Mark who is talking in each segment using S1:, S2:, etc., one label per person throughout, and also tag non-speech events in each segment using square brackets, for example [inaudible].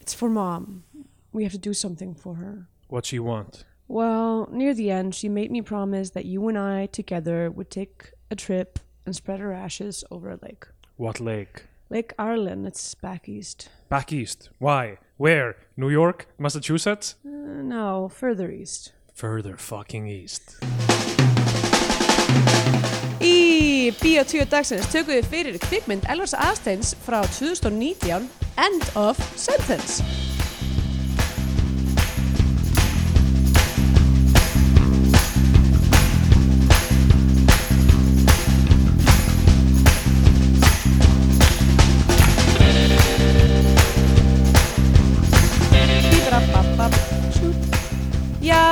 S1: It's for mom. We have to do something for her.
S2: What she want?
S1: Well, near the end, she made me promise that you and I together would take a trip and spread our ashes over a lake.
S2: What lake?
S1: Lake Ireland, it's back east.
S2: Back east. Why? Where? New York? Massachusetts?
S1: Uh, no, further east.
S2: Further fucking east.
S1: Í Bíotvíu dagsins tökum við fyrir kvikmynd Elvars Aðsteins frá 2019 End of Sentence. Bíbrababab, shoot. Já,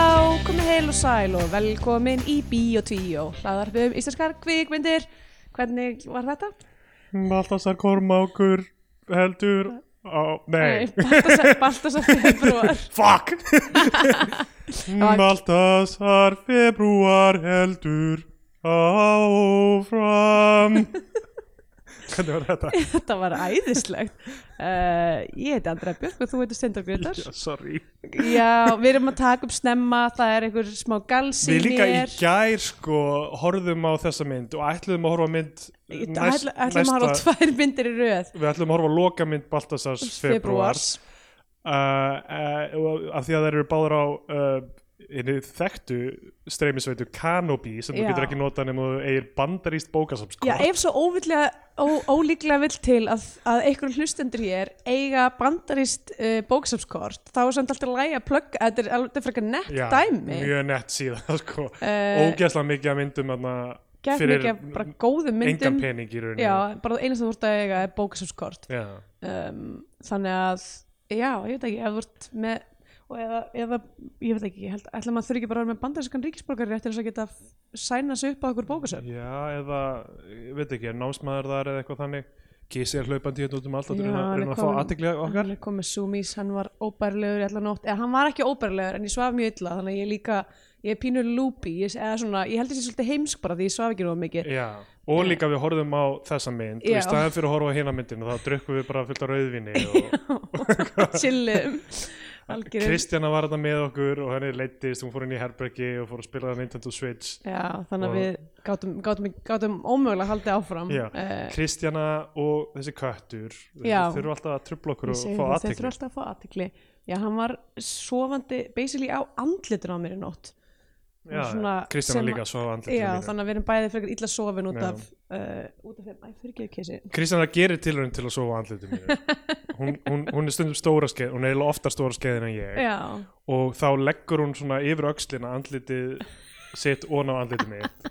S1: komið heil og sæl og velkomin í Bíotvíu, hlaðarfum íslenskar kvikmyndir. Hvernig var þetta?
S2: Baltasar Kormákur heldur á... Nei.
S1: Baltasar, Baltasar februar.
S2: Fuck! Baltasar februar heldur áfram. Hvernig var þetta?
S1: Þetta var æðislegt uh, Ég heiti Andra Björk og þú heitir Stendar Grétar
S2: Já, sorry.
S1: Já, við erum að taka upp snemma Það er einhver smá galsi
S2: Við líka í gær sko horfðum á þessa mynd og ætluðum að horfa á mynd næst-
S1: Ætlum að hafa
S2: næsta-
S1: tvær myndir í röð
S2: Við ætlum að horfa að loka mynd Baltasars februars
S1: Februars
S2: uh, uh, af því að þær eru báður á uh, inni þekktu streymisveitu Canopy sem þú
S1: Já.
S2: getur ekki nota nema þú eigir bandaríst bókasamskort
S1: Já, ef svo óvillega, ó, ólíklega vill til að, að einhverjum hlustendur hér eiga bandarist uh, bóksapskort þá er samt alltaf lægi að plugga þetta er, þetta er frekar nett
S2: Já,
S1: dæmi
S2: mjög nett síðan [laughs] sko.
S1: Eh,
S2: ógeðslega mikið að myndum þarna,
S1: Gæf
S2: fyrir
S1: mikið af bara góðum myndum
S2: engan pening í rauninni
S1: Já, bara einast þú voru að eiga er bóksapskort
S2: Já.
S1: um, þannig að já, ég veit ekki, ef þú ert með og eða, eða, ég veit ekki, ég held ætla maður þurfi ekki bara að vera með bandarískan ríkisborgar rétt til þess að geta f- sæna sig upp á okkur bókasöf
S2: Já, eða, ég veit ekki, er námsmaður þar eða eitthvað þannig Kissi er hlaupandi hérna út um allt
S1: Já,
S2: að reyna
S1: hann er
S2: reyna að fá
S1: kominn-
S2: aðtegli okkar
S1: hann er komið súmís, hann var óbærilegur í alla nótt, eða hann var ekki óbærilegur en ég svaf mjög illa, þannig að ég líka ég er pínur lúpi, ég, eða svona ég held að ég sé svolítið heimsk bara því ég svaf ekki nóg mikið
S2: Já, og líka við horfðum á þessa mynd og
S1: Já.
S2: í staðan fyrir að horfa á hina myndinu þá drukkum við bara fullt af
S1: [laughs]
S2: rauðvinni og [laughs]
S1: chillum, algjörum
S2: Kristjana var þetta með okkur og henni leittist, hún fór inn í herbergi og fór að spila Nintendo Switch
S1: já, þannig
S2: Og-
S1: að við gátum, gátum, gátum ómögulega haldið áfram
S2: Já,
S1: Eh,
S2: Kristjana og þessi köttur
S1: Já.
S2: þau þurfa alltaf að trubla okkur
S1: Ég
S2: og
S1: segi
S2: fá
S1: það, Þau
S2: aðtekli
S1: þurfa alltaf að fá aðtikli. Já, hann var sofandi basically á andlitun á mér í nótt.
S2: Já,
S1: svona
S2: Kristjana
S1: sem-
S2: líka svo andlitið
S1: Já,
S2: líka
S1: þannig að við erum bæðið frekar illa sofin út
S2: Já.
S1: af, uh, út af þeim. Æ, fyrir ekki kissi.
S2: Kristjana gerir tilraun til að sofa
S1: [laughs]
S2: andlitið mínu hún, hún, hún er stundum stóra skeið hún er eiginlega oftar stóra skeiðin en ég
S1: Já,
S2: og þá leggur hún svona yfir öxlina andlitið sitt og á andlitið mitt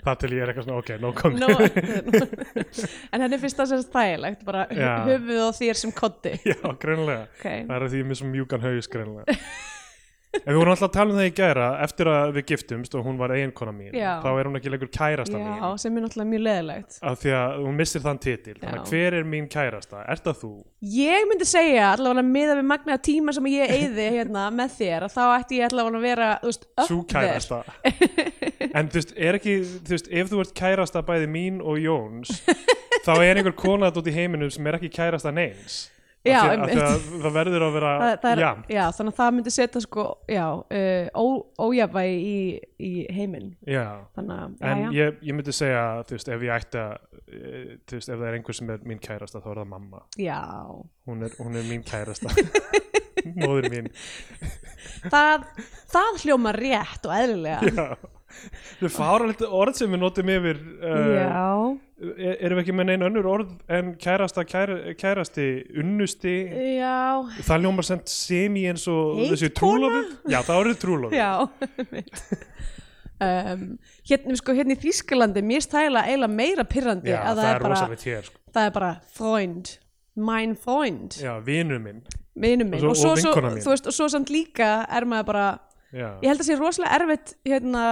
S2: þar til ég er eitthvað svona ok, no comment
S1: no,
S2: [laughs]
S1: en henni finnst það sem þægilegt, bara
S2: Já.
S1: höfuð á þér sem kotti.
S2: Já, greinilega.
S1: Okay.
S2: Það er að því ég er með svo mjúkan haus greinilega. en við vorum alltaf að tala um það í gæra eftir að við giftumst og hún var eiginkona mín.
S1: Já.
S2: Þá er hún ekki lengur kærasta
S1: Já,
S2: mín.
S1: sem er náttúrulega mjög leðilegt.
S2: Af því að hún missir þann titil. Þannig
S1: Já.
S2: að hver er mín kærasta? Er það þú?
S1: Ég myndi segja, allavega meða við magna tíma sem ég eyði hérna með þér, að þá ætti ég allavega að vera, þú veist, upp
S2: Sú
S1: there.
S2: kærasta. en þú veist, er ekki, þú veist, ef þú ert kærasta bæði mín og Jóns, þá er einhver kona þetta út í heiminum sem er ekki kærasta neins. Af
S1: Já,
S2: því að- af því
S1: einmitt.
S2: að það verður að vera,
S1: það, það er,
S2: já,
S1: já. þannig að það myndi setja sko, já, uh, ó, ójafvægi í, í heiminn
S2: já.
S1: þannig að,
S2: En
S1: já, já,
S2: ég, ég myndi segja, þú veist, ef ég ætti að, eh, þú veist, ef það er einhver sem er mín kærasta, þá er það mamma.
S1: já
S2: Hún er, hún er mín
S1: [laughs]
S2: kærasta. Móður mín.
S1: það, það hljóma rétt og
S2: [laughs]
S1: eðlilega
S2: Já. Þau fára lítið orð sem við notum yfir, uh,
S1: já,
S2: er, erum við ekki með neina önnur orð en kærasta, kæra, kærasti, unnusti.
S1: já
S2: Það ljómar sem semi eins og
S1: Heitkona?
S2: þessi trúlofið. Já, það eru trúlofið.
S1: já [laughs] einmitt. um, hérna, sko, hérna í Þýskalandi mér stæla eiginlega meira pyrrandi
S2: Já,
S1: að
S2: það,
S1: það
S2: er
S1: er bara,
S2: rosalegt hér. sko.
S1: það er bara freund mein freund,
S2: Já, vinur minn.
S1: vinur minn
S2: Og
S1: og svo,
S2: svo- og
S1: svo,
S2: vinkona mín.
S1: þú veist, og svo samt líka er maður bara
S2: Já.
S1: ég held að sé rosalega erfitt hérna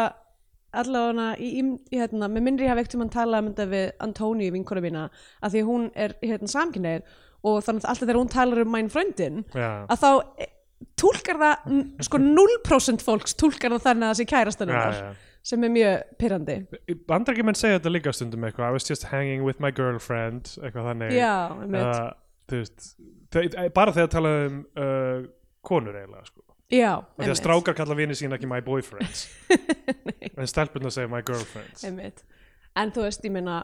S1: allavega í, í, hérna, með minnir ég hafi ekkert um hann talað um þetta við Antóníu vinkona mína að því að hún er hérna samkynneið og þannig að alltaf þegar hún talar um mæn fröndin
S2: Já.
S1: að þá eh, túlkar það n- sko 0% fólks túlkar það þannig að það sé kærastan
S2: Já,
S1: hennar
S2: já.
S1: sem er mjög pyrrandi
S2: Bandarækjumenn segja þetta líka stundum eitthvað I was just hanging with my girlfriend eitthvað þannig
S1: Já, einmitt.
S2: eða þú veist þe- þe- bara þegar talað um uh, konur eiginlega sko
S1: já,
S2: Af því að strákar kalla vini sína ekki my boyfriends
S1: [laughs]
S2: en stelpurnar segja my girlfriends
S1: einmitt. en þú veist, ég meina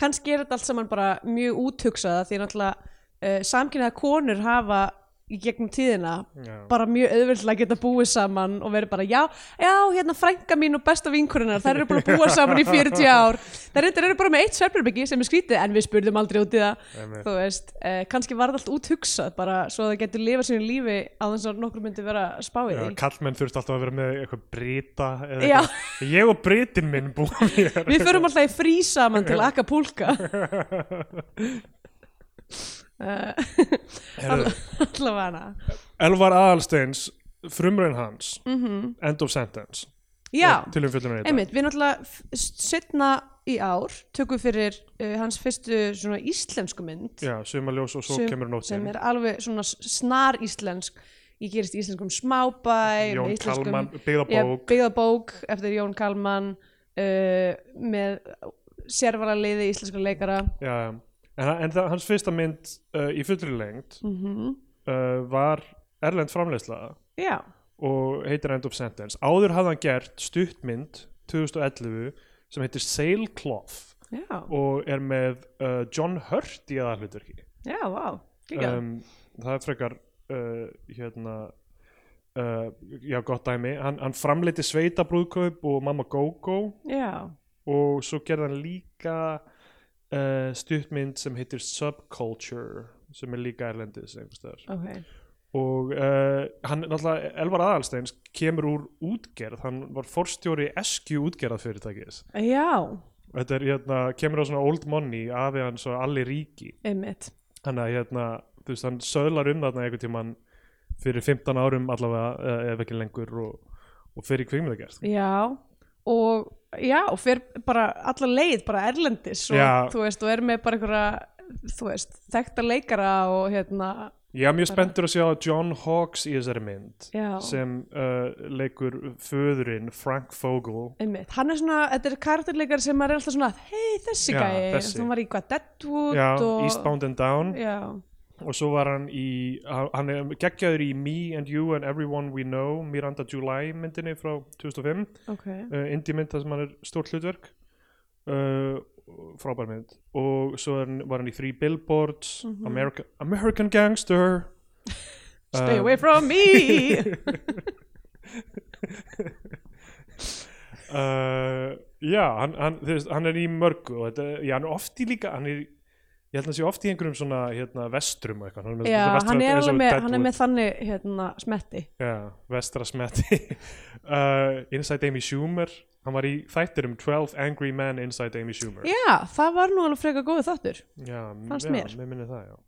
S1: kannski er þetta allt saman bara mjög útugsaða því náttúrulega uh, samkynniða konur hafa í gegnum tíðina
S2: Já.
S1: bara mjög auðvöldlega geta búið saman og verið bara, já, já, hérna frænka mín og besta vinkurinnar, þær eru búin að búa saman í 40 ár, þær reyndar eru bara með eitt svefnherbyggi sem er skrítið, en við spurðum aldrei út í það,
S2: Einmitt.
S1: þú veist, eh, kannski var það allt út hugsað bara svo að það getur lifað sínu lífi á þess að nokkur myndi vera spáið
S2: Já,
S1: því.
S2: kallmenn þurft alltaf að vera með eitthvað brita eða
S1: Já.
S2: eitthvað. ég og britin minn búum hér
S1: Við förum alltaf í frí saman til
S2: [laughs]
S1: Acapulca uh,
S2: Herðu,
S1: [laughs] allavega
S2: Elvar Aðalsteins frumraun hans end of sentence
S1: Mhm. Já,
S2: til umfjöldunar í dag
S1: einmitt, við náttúrulega setna í ár tökum fyrir uh, hans fyrstu svona íslensku mynd
S2: Já, sumarljós og svo
S1: Sum-
S2: kemur
S1: sem
S2: nóttin
S1: er alveg svona s- snar íslensk ég gerist í íslenskum smábæ
S2: Jón
S1: með íslenskum-
S2: Kalman,
S1: Já,
S2: byggðabók
S1: byggða bók eftir Jón Kalman uh, með sérvara liði íslenskra leikara
S2: Já, en, hann- en það, hans fyrsta mynd uh, í fullri lengd
S1: mm
S2: uh, var Erlend framleiðsla
S1: Já,
S2: og heitir End of Sentence áður hafði hann gert stuttmynd 2011 sem heitir Sailcloth
S1: já,
S2: og er með uh, John Hurt í aðalhlutverki
S1: já, vá um,
S2: um, það er frekar uh, hérna uh, já gott dæmi hann, hann framleiti sveita brúðkaup og mamma go-go
S1: Já,
S2: og svo gerði hann líka uh, stuttmynd sem heitir Subculture sem er líka erlendis einhvers staðar
S1: ok
S2: og uh, hann náttúrulega Elvar Aðalsteins kemur úr útgerð hann var forstjóri SQ útgerðað fyrirtækis
S1: Já,
S2: þetta er hérna kemur á svona old money afi hans og allir ríki
S1: einmitt
S2: hann að hérna þú veist hann söðlar um þarna einhvern tímann fyrir 15 árum allavega eh, ef ekki lengur og, og fyrir kvikmyndagerð
S1: Já, og já, og fer bara alla leið bara erlendis og
S2: Já.
S1: þú veist, og er með bara einhverja þú veist, þekkta leikara og hérna,
S2: ég er mjög spenntur að sjá John Hawks í þessari mynd
S1: Já.
S2: sem uh, leikur föðurinn Frank Fogel
S1: einmitt hann er svona, þetta er karakterleikar sem maður er alltaf svona hei, þessi
S2: Já,
S1: gæi,
S2: þessi.
S1: þú var í hvað Deadwood
S2: já,
S1: og
S2: Eastbound and Down
S1: Já,
S2: og svo var hann í hann er geggjaður í Me and You and Everyone We Know Miranda July myndinni frá 2005
S1: ok
S2: uh, indie mynd þar sem hann er stórt hlutverk uh, frábær mynd og svo er, hann- var hann í Three Billboards
S1: Mhm.
S2: America, American Gangster
S1: [laughs] Stay
S2: Um,
S1: away
S2: [laughs]
S1: from me
S2: Eh, uh, já, hann, hann, þú veist, hann er í mörgu og þetta, já, hann er oft í líka hann er, ég held að hann sé oft í einhverjum svona hérna, vestrum og eitthvað hann er með
S1: Já,
S2: svona vestra-
S1: hann er
S2: eins og
S1: alveg með, hann er
S2: Deadwood.
S1: með þannig hérna, smetti
S2: Já, vestra smetti [laughs] uh, Inside Amy Schumer hann var í þættir um 12 Angry Men Inside Amy Schumer
S1: Já, það var nú alveg frekar góðu þáttur
S2: já,
S1: fannst
S2: já,
S1: mér.
S2: mér minni það, já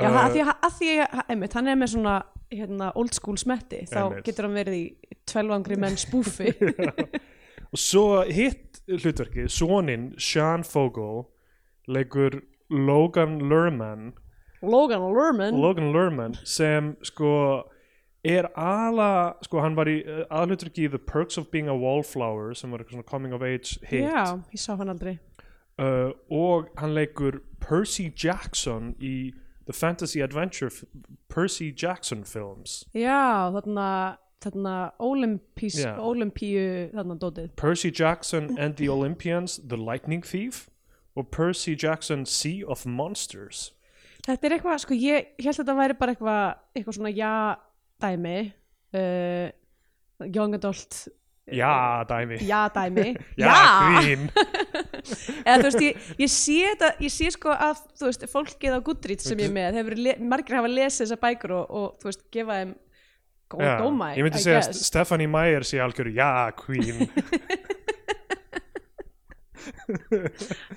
S1: Já,
S2: Uh,
S1: uh, að því, að- að því að- einmitt, hann er með svona hérna, old school smetti, þá
S2: Einmitt.
S1: getur hann verið í tvelvangri menn spúfi
S2: og Uh, svo hitt hlutverki soninn Sean Fogel leikur Logan Lerman
S1: [laughs] Logan Lerman
S2: Logan Lerman sem sko er ala sko hann var í uh, aðhlutverki í The Perks of Being a Wallflower sem var eitthvað svona coming of age hit
S1: Já, ég sá hann aldrei
S2: uh, og hann leikur Percy Jackson í The Fantasy Adventure f- Percy Jackson films
S1: Já, þarna, þarna Olympís,
S2: Já.
S1: Olympíu þarna dótið
S2: Percy Jackson and the Olympians The Lightning Thief og Percy Jackson Sea of Monsters
S1: Þetta er eitthvað, sko, ég held að þetta væri bara eitthvað eitthvað svona já dæmi uh, young adult
S2: Já, dæmi
S1: já
S2: [laughs]
S1: dæmi
S2: grín
S1: [laughs] eða þú veist, ég, ég sé þetta ég sé sko að, þú veist, fólkið á Goodreads sem ég er með, hefur le, margir hafa lesið þessar bækur og, og þú veist, gefa þeim góða
S2: Já,
S1: dóma,
S2: Ég myndi
S1: I
S2: segja að
S1: guess.
S2: Stephanie Meyer sé algjör Já, queen
S1: [laughs]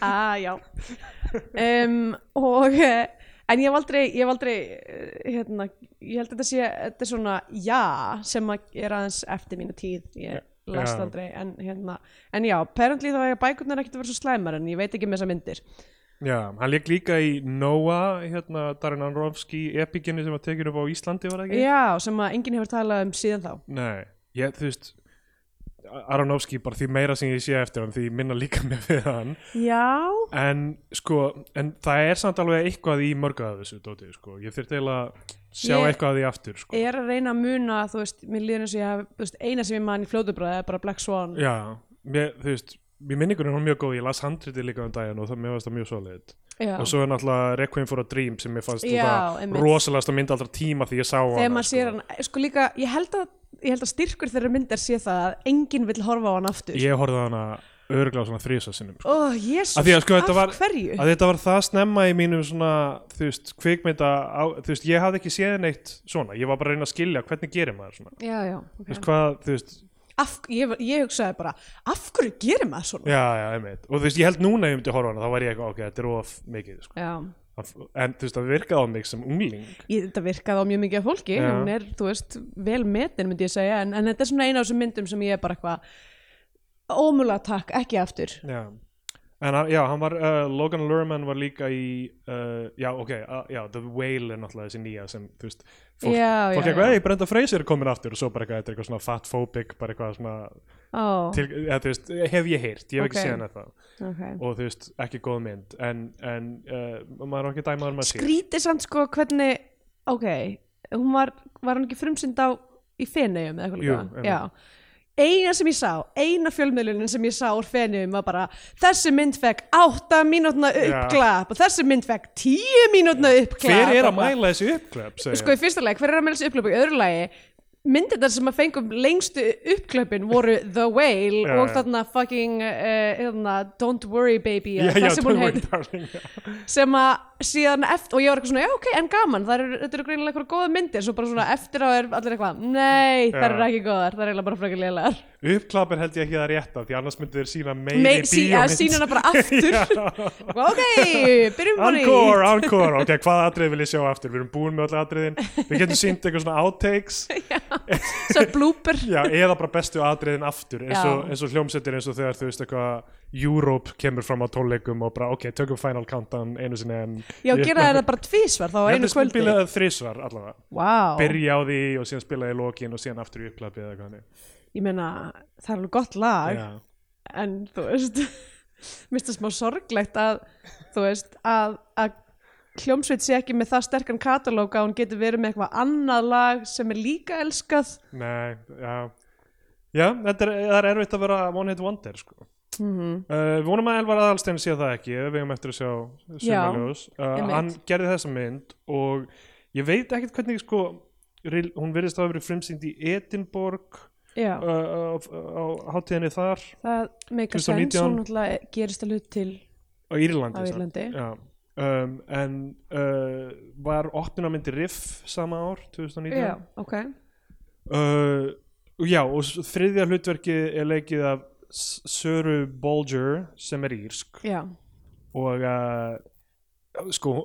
S1: ah, já um, og eh, en ég hef aldrei, ég hef aldrei eh, hérna, ég held að þetta sé þetta er svona já sem að er aðeins eftir mínu tíð, ég las
S2: já.
S1: það aldrei en hérna, en já, apparently þá er bækurnar ekkert að vera svo slæmar en ég veit ekki með þessar myndir
S2: Já, hann leik líka í Noah hérna Darren Aronofsky epikinni sem var tekin upp á Íslandi var það ekki?
S1: já, sem að enginn hefur talað um síðan þá
S2: Nei, ég, þú veist Aronofsky bara því meira sem ég sé eftir hann því minna líka [laughs] mér við hann
S1: Já,
S2: en sko, en það er samt alveg eitthvað í mörgu af þessu dóti sko. ég þurfti eiginlega að sjá
S1: Ég-
S2: eitthvað af því aftur sko.
S1: ég er að reyna að muna þú veist, mér líður eins og ég hef þú veist, eina sem ég man í fljótubræði er bara Black Swan
S2: já, mér, þú veist mér minningunum er hún mjög góð, ég las handriti líka um daginn og það mér varst það mjög solid
S1: Já.
S2: og svo er náttúrulega Requiem for a Dream sem mér fannst
S1: Já,
S2: þetta
S1: einmitt.
S2: rosalast að mynda allra tíma því ég sá
S1: þegar
S2: hana,
S1: maður sér hann, sko líka ég held að, ég held að styrkur þeirra myndar sé það að enginn vill horfa á hann aftur
S2: ég horfði á hana örgla á svona þrísa sinnum sko.
S1: Ó, jésus,
S2: Af því að, sko, þetta
S1: af
S2: var-
S1: hverju?
S2: að þetta var það snemma í mínum svona, þú veist, kvikmynda á, þú veist, ég hafði ekki séð neitt svona, ég var bara að reyna að skilja hvernig gerir maður svona,
S1: Já, já,
S2: þú
S1: ok
S2: veist, hvað, þú veist
S1: af, ég, ég hugsaði bara, af hverju gerir maður svona?
S2: já, já, einmitt, og þú veist, ég held núna ef ég myndi horfa á hana, þá væri ég eitthvað, ok, þetta er of mikið, sko,
S1: Já,
S2: en þú veist, það virkaði á mig sem ungling,
S1: ég, þetta virkaði á mjög mikið af fólki,
S2: Já.
S1: hún er, þú veist, vel metin myndi ég segja, en, en þetta er svona eina af þessum myndum sem ég er bara eitthvað ómulega takk, ekki aftur
S2: já en hann- já, hann var, uh, Logan Lerman var líka í, uh, já, ok uh, já, The Whale er náttúrulega þessi nýja sem, þú veist, fólk,
S1: Já, já,
S2: fólk
S1: já.
S2: eitthvað, hei, Brenda Fraser er komin aftur og svo bara eitthvað, þetta er eitthvað svona fatphobic, bara eitthvað svona
S1: Ó,
S2: til, eða, þú veist, hef ég heyrt, ég hef
S1: Ok.
S2: ekki séð hann það
S1: ok
S2: og þú veist, ekki góð mynd en, en uh, maður er ekki dæmaður maður sér
S1: skrítið samt sko hvernig ok, hún var var hún ekki frumsynd á í Feneum eða
S2: Jú,
S1: eitthvað líka?
S2: einmitt.
S1: já eina sem ég sá, eina fjölmiðlunin sem ég sá úr Feneum var bara þessi mynd fekk átta mínútna uppglap og þessi mynd fekk tíu mínútna uppglap
S2: hver er
S1: Og
S2: að
S1: bara-
S2: mæla þessi uppklöp
S1: sko í fyrsta lagi, hver er að mæla þessi uppglap og í öðru lagi myndirnar sem að fengum lengstu uppglöpin voru The Whale
S2: Já,
S1: og
S2: já.
S1: þarna fucking uh, hérna, Don't Worry Baby eða
S2: já,
S1: hvað
S2: já,
S1: sem hún
S2: don't worry,
S1: heit-
S2: darling, já.
S1: sem að síðan eftir, og ég var eitthvað svona, já ok, en gaman, það eru, þetta eru greinilega eitthvað góða myndir, svo bara svona eftir á er allir eitthvað, nei, það
S2: Já.
S1: eru ekki góðar, það eru eiginlega bara frekar lélegar.
S2: uppklapin held ég ekki það rétta því annars myndir þeir sína meiri
S1: Nei, sí, ja, sína hana bara
S2: [laughs]
S1: aftur, Sko,
S2: aftur
S1: ok, byrjum bara í.
S2: Encore, encore, ok, hvaða atrið vil ég sjá aftur? Við erum búin með öll atriðin, við getum sínt eitthvað svona outtakes,
S1: [laughs] Svo blúper.
S2: já, eða bara bestu atriðin aftur, eins og,
S1: Já.
S2: eins og hljómsettir eins og þegar þú veist eitthvað Europe kemur fram á tónleikum og bara ok, tökum Final Countdown einu sinni en
S1: Já, gera þeir það bara tvísvar þá á einu kvöldi.
S2: Spilaði þrísvar allavega,
S1: Vá,
S2: byrja á því og síðan spilaði í lokin og síðan aftur í upplapið eða hvað þannig.
S1: ég meina, það er alveg gott lag,
S2: Já.
S1: en þú veist, [laughs] mér finnst það smá sorglegt að, þú veist, að, að hljómsveit sé ekki með það sterkan katalóg að hún getur verið með eitthvað annað lag sem er líka elskað
S2: Nei, já Já, þetta er, það er erfitt að vera One Hit Wonder sko. uh, Vonum að Elvar Aðalstein sé það ekki við eigum eftir að sjá
S1: Já,
S2: sumarljós uh,
S1: einmitt.
S2: Hann gerði þessa mynd og ég veit ekkert hvernig sko ril- hún virðist að hafa verið frumsýnd í Edinborg
S1: Já,
S2: uh, á, á hátíðinni þar
S1: það meikar
S2: 2019.
S1: sens hún náttúrulega gerist að hlut til
S2: á Írlandi,
S1: á
S2: sem sagt.
S1: Írlandi
S2: Já, um, en uh, var opnunarmyndi Riff sama ár 2019
S1: Já, ok
S2: uh, já og s- þriðja hlutverkið er leikið af S- Söru Bolger sem er írsk
S1: Já,
S2: og uh, sko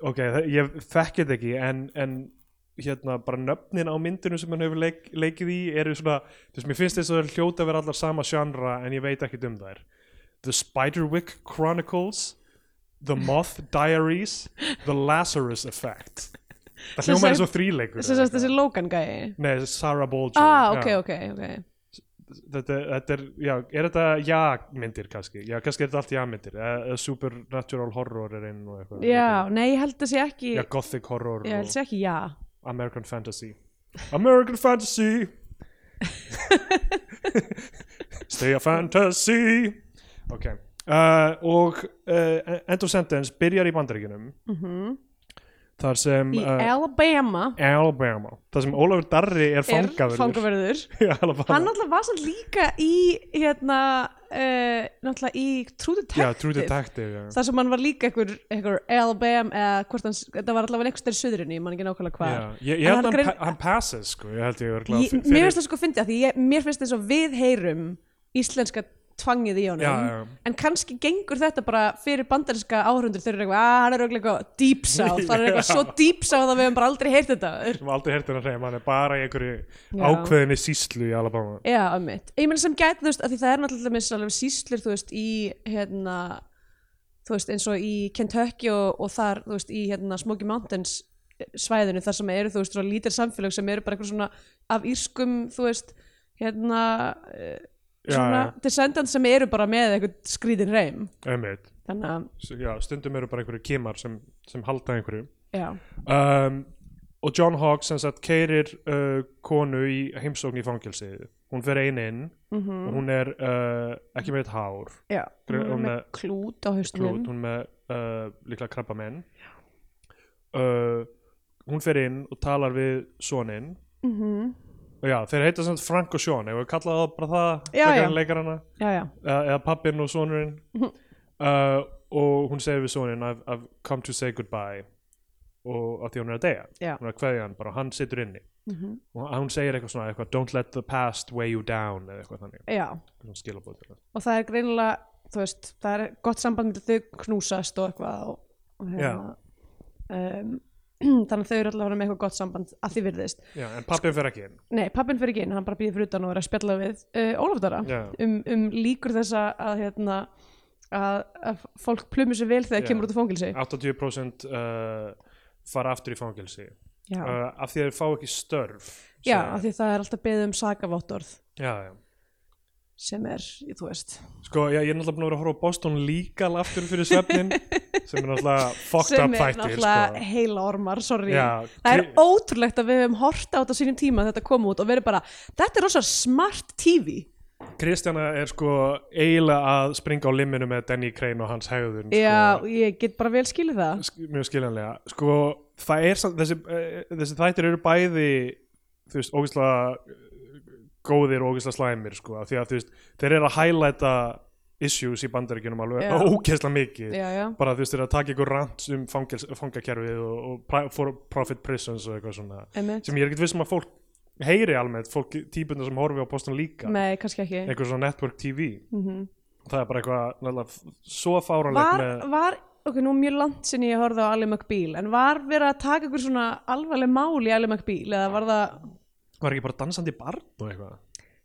S2: ok, þa- ég þekki þetta ekki en, en hérna bara nöfnin á myndinu sem hann hefur leik, leikið í eru svona, þú veist, mér finnst þess að það er hljóta að vera allar sama sjandra en ég veit ekkert um þær The Spiderwick Chronicles The Moth Diaries The Lazarus Effect það
S1: Sem
S2: hljóma
S1: sagt-
S2: eins og þríleikur
S1: þess
S2: eða
S1: að þessi
S2: eitthvað.
S1: Logan gæi
S2: Nei, þessi Sarah Bolger
S1: Ah,
S2: já.
S1: ok, ok, ok
S2: þetta, þetta er, já, er þetta já-myndir kannski, já, kannski er þetta allt já-myndir eða eða supernatural horror er inn og eitthvað
S1: Já, nei, ég held að sé ekki
S2: já,
S1: Ég
S2: gothic horror
S1: held að
S2: og
S1: sé ekki já
S2: American fantasy
S1: [laughs]
S2: American fantasy stay a fantasy ok uh, og uh, End of Sentence byrjar í bandaríkinum
S1: Mhm.
S2: þar sem
S1: Í
S2: uh,
S1: Alabama
S2: Alabama þar sem Ólafur Darri er
S1: er
S2: fangaverður
S1: fangaverður
S2: [laughs] í Alabama.
S1: Hann náttúrulega var samt líka í hérna, uh, náttúrulega í True Detective,
S2: já, True Detective já.
S1: þar sem hann var líka einhver, einhver Alabama eða hvort hann, það var allavega einhvers þær suðrinu, ég man ekki nákvæmlega hvað
S2: Já,
S1: En
S2: ég, ég held
S1: hann
S2: hann,
S1: grein-
S2: pa- hann passes sko, ég held ég örgla
S1: ég, mér finnst það sko fyndið að því ég, mér finnst þess að við heyrum íslenska tvangið í honum
S2: Já, já.
S1: en kannski gengur þetta bara fyrir bandarinska áhörundur þeir eru eitthvað, að hann er örugglega eitthvað deep
S2: [laughs]
S1: south, það er eitthvað svo deep south að við hefum bara aldrei heyrt þetta áður.
S2: sem aldrei heyrt hennar hreim, hann er bara í einhverju
S1: Já.
S2: ákveðinni síslu í Alabama
S1: Já, ömmit. Ég meina sem gæti, þú veist, að því það er náttúrulega með svolítið sýslur, þú veist, í hérna, þú veist, eins og í Kentucky og, og þar, þú veist, í hérna Smoky Mountains eh, svæðinu, þar sem eru, þú veist, svona lítir samfélög sem eru bara eitthvað svona af írskum, þú veist, hérna, eh,
S2: Já,
S1: svona
S2: já.
S1: descendants sem eru bara með eitthvað skrýtin reym
S2: einmitt
S1: þannig að,
S2: S- já, stundum eru bara einhverju kímar sem, sem halda einhverju
S1: já,
S2: um, og John Hawks sem sagt keirir uh, konu í heimsókn í fangelsi hún fer ein inn
S1: mhm,
S2: og hún er uh, ekki með eitt hár
S1: já
S2: Gre-
S1: hún
S2: hún
S1: er með
S2: er-
S1: klút á
S2: klút,
S1: haustunum
S2: hún er með uh, líklega krabba menn uh, hún fer inn og talar við sonin
S1: mhm,
S2: og já, þeir heita samt Frank og Sean ef við kallaði það bara það
S1: Já,
S2: frekar
S1: já.
S2: en leikarana
S1: já, já,
S2: eða, eða pappinn og sonurinn
S1: Mhm.
S2: uh, og hún segir við soninn I've, I've come to say goodbye og að því hún er að deyja
S1: Já.
S2: hún er að kveðja hann bara og hann situr inni
S1: mhm,
S2: og hún segir eitthvað svona eitthvað, don't let the past weigh you down eða eitthvað þannig
S1: já
S2: svona skilabóð til það
S1: og það er greinilega, þú veist það er gott samband með þau knúsast og eitthvað og, og hérna um, [clears throat] þannig að þau eru allavega með eitthvað gott samband að því virðist
S2: já, en
S1: Sko-
S2: pappinn fer ekki inn
S1: Nei, pappin fyrir ekki inn, hann bara býður fyrir utan og er að spjalla við uh, Ólaf Dara
S2: Já.
S1: um, um líkur þess að, að, hérna, að, að fólk plumi sér vel þegar
S2: Já.
S1: kemur út af fóngilsi
S2: 80% uh, fara aftur í fangelsi
S1: Já,
S2: uh, af því að þeir fá ekki störf
S1: já
S2: segja
S1: af því það er alltaf beðið um sakaváttorð
S2: þeir. já, já
S1: sem er, þú veist
S2: Sko, já, ég er náttúrulega búin að vera að horfa á Boston Legal aftur fyrir svefnin sem er náttúrulega fucked
S1: sem
S2: up
S1: er
S2: fættir
S1: náttúrulega
S2: sko.
S1: heila ormar, sorry
S2: Já,
S1: Það er
S2: kri-
S1: ótrúlegt að við hefum horta á þetta á sínum tíma að þetta kom út og verið bara, þetta er rosa smart TV
S2: Kristjana er sko eiginlega að springa á limminu með Danny Crane og hans hegðun
S1: Já,
S2: sko,
S1: ég get bara vel skilið það
S2: sk- mjög skiljanlega sko, það er samt, þessi, eh, þessi þættir eru bæði þú veist, ógeðslega eh, góðir og ógeðslega slæmir sko, af því að þú veist, þeir eru að highlighta issues í bandaríkjunum alveg
S1: Já.
S2: ógeðslega mikið
S1: Já, já,
S2: bara þú veist, þeir eru að taka ykkur rant um fangels, fangakerfið og, og pri- for profit prisons og eitthvað svona
S1: einmitt
S2: sem ég er ekkert viss um að fólk heyri almennt, fólk típunar sem horfi á postan líka
S1: Nei, kannski ekki
S2: einhver svona network TV
S1: mm
S2: það er bara eitthvað náttúrulega f- svo fáranlegt
S1: var,
S2: með
S1: var, ok, nú er mjög langt sinni ég horfði á Ali McBeal, en var verið að taka ykkur svona alvarleg mál í Ali McBeal eða var það,
S2: var ekki bara dansandi barn og eitthvað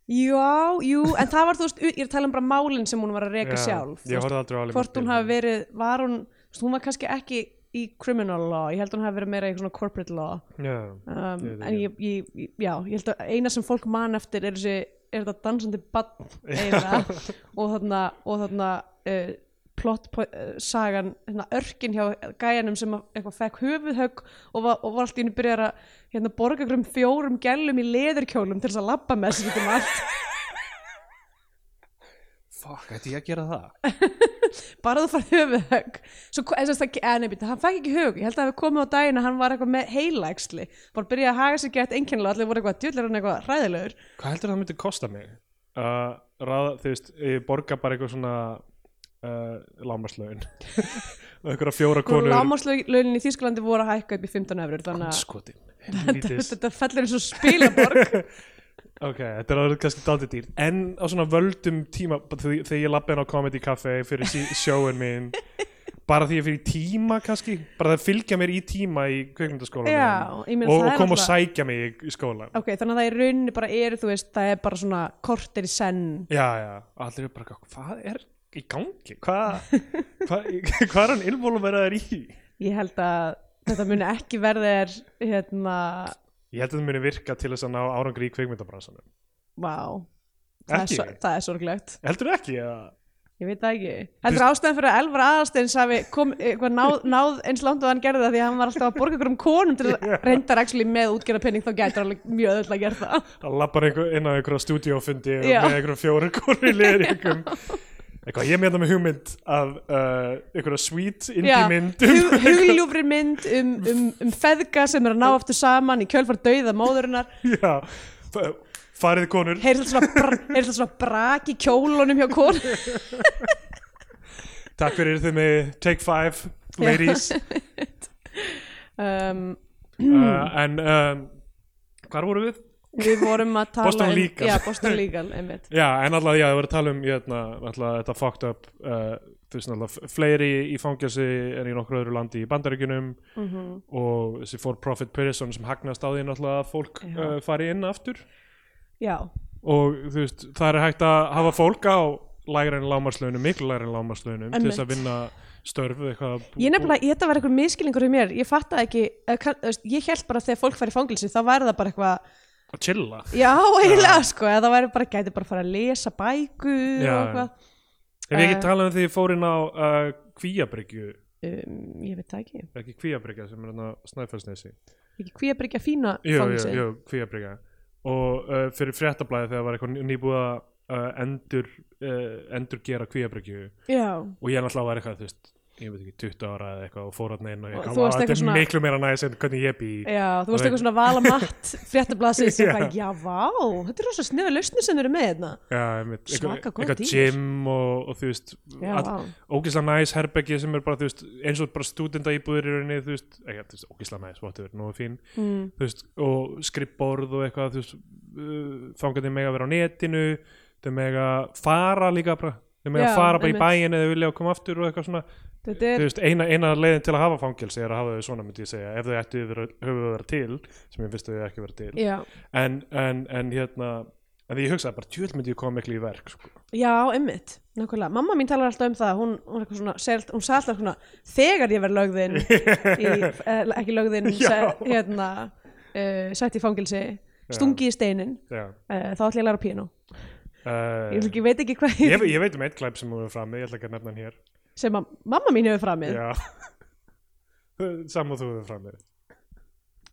S1: já, jú en það var þú veist, ég er að tala um bara málinn sem hún var að reka
S2: Já,
S1: sjálf, þú
S2: ég
S1: veist,
S2: horfði aldrei á alveg
S1: hvort hún hafi verið var hún, þú veist, hún var kannski ekki í criminal law, ég held hún hafi verið meira í svona corporate law,
S2: já,
S1: um,
S2: Ég veit
S1: en ég, ég, ég, já ég held að eina sem fólk man eftir er þessi er þetta dansandi bann eina og þarna, og þarna uh, plot po- eh, sagan hérna, örkin hjá gæjanum sem að- eitthvað fekk höfuðhögg og var, og var allt í henni byrjar að hérna, borga ykkur um fjórum gælum í leðurkjólum til þess að labba með sér út um allt [laughs]
S2: fuck, ætti ég að gera það
S1: bara þú fara höfuðhögg svo, ko- eða, sem sagt, það, eða, nei, býttu, hann fekk ekki höfuðhögg ég held að það hefði komið á daginn að hann var eitthvað með heilaæxli bara byrjaði að haga sér gett einkennilega allir voru eitthvað djöldur en eitthvað hræðilegur
S2: hvað heldur það myndi kosta mig uh, ráða, þú veist, ég borga bara eitthvað svona uh, lámarslaun [laughs] og einhverja fjóra konur
S1: Lámáslaunin í Þýskalandi voru að hækka upp í 15 eurur þannig að
S2: skotin,
S1: [laughs]
S2: helvítis
S1: þetta fellur eins og
S2: [laughs]
S1: spilaborg
S2: ok, þetta er orðið kannski daldið dýr en á svona völdum tíma bara því- þegar ég lappi inn á Comedy Café fyrir
S1: [laughs]
S2: sí- sjóin mín bara því ég fyrir tíma kannski bara það fylgja mér í tíma í kveikmyndaskóla
S1: Já, ég meina
S2: og,
S1: það
S2: og
S1: er
S2: kom og
S1: náttúrulega-
S2: sækja mig í, í skóla
S1: Ok, þannig að það í rauninni bara er, þú veist, það er bara svona korter í senn
S2: já, já, allir eru bara eitthvað, hvað er í gangi,
S1: [laughs]
S2: hvað hva, [laughs] hvað er hann involveraður í
S1: Ég held að þetta muni ekki verða er, hérna,
S2: ég held að það muni virka til þess að ná árangri í kveikmyndabransanum
S1: vá Það er,
S2: Ekki?
S1: sor- það er sorglegt,
S2: heldur ekki að
S1: ég veit það ekki Heldur ástæðan fyrir að Elvar Aðalsteins hafi kom, eitthvað náð, náð eins langt og hann gerði það því að hann var alltaf að borga ykkur um konum
S2: [laughs]
S1: til að reyndar actually með útgerða penning þá gætur alveg mjög öðvöld að gera það
S2: Það lappar einhver, inn á einhverja stúdíófundi og
S1: Já.
S2: með einhverjum fjóru konur í leðringum eitthvað, ég meina með hugmynd af uh, einhverja sweet indie myndum [laughs]
S1: hug, hugljúfri mynd um, um, um feðga sem er að ná aftur saman í kjölfar dauða móðurinnar
S2: [laughs] já, fa- farið konur
S1: heyrðist svona, br heyrist svona brak í kjólunum hjá kon
S2: takk fyrir þið með Take Five
S1: [laughs]
S2: ladies uh,
S1: um,
S2: en um, hvar voru við?
S1: við vorum að tala
S2: Boston
S1: um,
S2: Legal.
S1: já, Boston Legal einmitt.
S2: Já, en alltaf, já, það voru að tala um jötna, alltaf, þetta fucked up uh, þú veist, alltaf, fleiri í fangjasi en í nokkru öðru landi í bandaríkunum
S1: Mhm.
S2: og þessi for-profit person sem hagnast á því náttúrulega að fólk
S1: Já.
S2: uh, fari inn aftur
S1: já,
S2: og þú veist, það er hægt að hafa fólk á lægra en lámarslaunum, miklu lægra en lámarslaunum til þess að vinna störf eitthvað
S1: ég nefnilega, ég- þetta var eitthvað miskilningur í mér, ég fatta ekki, eða kann- þú veist, ég held bara að þegar fólk fær í fangilsi þá væri það bara eitthvað
S2: að chilla
S1: já, eiginlega sko, eða það væri bara gæti bara að fara að lesa bækur og
S2: Já, já.
S1: eitthvað
S2: Hef ég ekki
S1: Eh.
S2: talað um því ég fór inn á uh, Kvíabryggju,
S1: um, ég veit það ekki,
S2: ekki Kvíabryggja sem er hann að Snæfellsnesi
S1: ekki hví að bryggja fína
S2: Jú, jú,
S1: fangelsi?
S2: jú, Kvíabryggja og uh, fyrir fréttablaði þegar var eitthvað ný- nýbúið að uh, endur, uh, endur gera Kvíabryggju
S1: já,
S2: og ég náttúrulega var eitthvað, þú veist ég veit ekki, 20 ára eða eitthvað og fór hann inn og ég
S1: Og
S2: eitthvað,
S1: þú
S2: "Vá,
S1: varst
S2: þetta er
S1: eitthvað svona-
S2: miklu meira næs en hvernig ég bý
S1: já, þú
S2: Og
S1: veist eitthvað
S2: eitthvað-
S1: svona valamatt fréttablasið sem
S2: Já.
S1: eitthvað, já, vá þetta er rosa sniðu lausnir sem þeir eru með hérna
S2: Já, einmitt, eitthvað,
S1: Svaka góð
S2: eitthvað
S1: dýr.
S2: gym og, og þú veist
S1: já,
S2: all-
S1: vá,
S2: ógeðslega næs herbergi sem er bara, þú veist, eins og bara stúdenda íbúðir í rauninni, þú veist, ekki, þú veist, ógeðslega næs whatever, nú er fín,
S1: mm,
S2: þú veist, og skrippborð og eitthvað, þú veist uh, fangandi mega vera á netinu þau mega fara líka bara þau mega
S1: Já,
S2: fara bara í
S1: einmitt.
S2: bæin eða vilja og koma aftur og eitthvað svona,
S1: þetta
S2: þú
S1: er
S2: veist, eina, eina leiðin til að hafa fangelsi er að hafa þau svona, myndi ég segja ef þau ættu yfir að- höfuð að vera til, sem ég finnst þau ekki vera til,
S1: já,
S2: en, en, en hérna en því ég hugsaði bara, tjöld myndi ég koma miklu í verk, sko
S1: já, emmitt nákvæmlega, mamma mín talar alltaf um það hún, hún, er eitthvað svona, selt, hún sagði alltaf svona þegar ég verð lögðin í,
S2: [laughs]
S1: eh, ekki lögðin,
S2: Já.
S1: se, hérna uh, sett í fangelsi stungi í steinin,
S2: Já,
S1: uh, þá ætla ég að læra píano
S2: uh,
S1: ég, ætla ekki, veit ekki hvað
S2: ég, ég veit um eitt glæp sem hún er frammi, ég ætla ekki að nefna hann hér
S1: sem að mamma mín hefur framið
S2: Já [laughs] Saman þú hefur frammi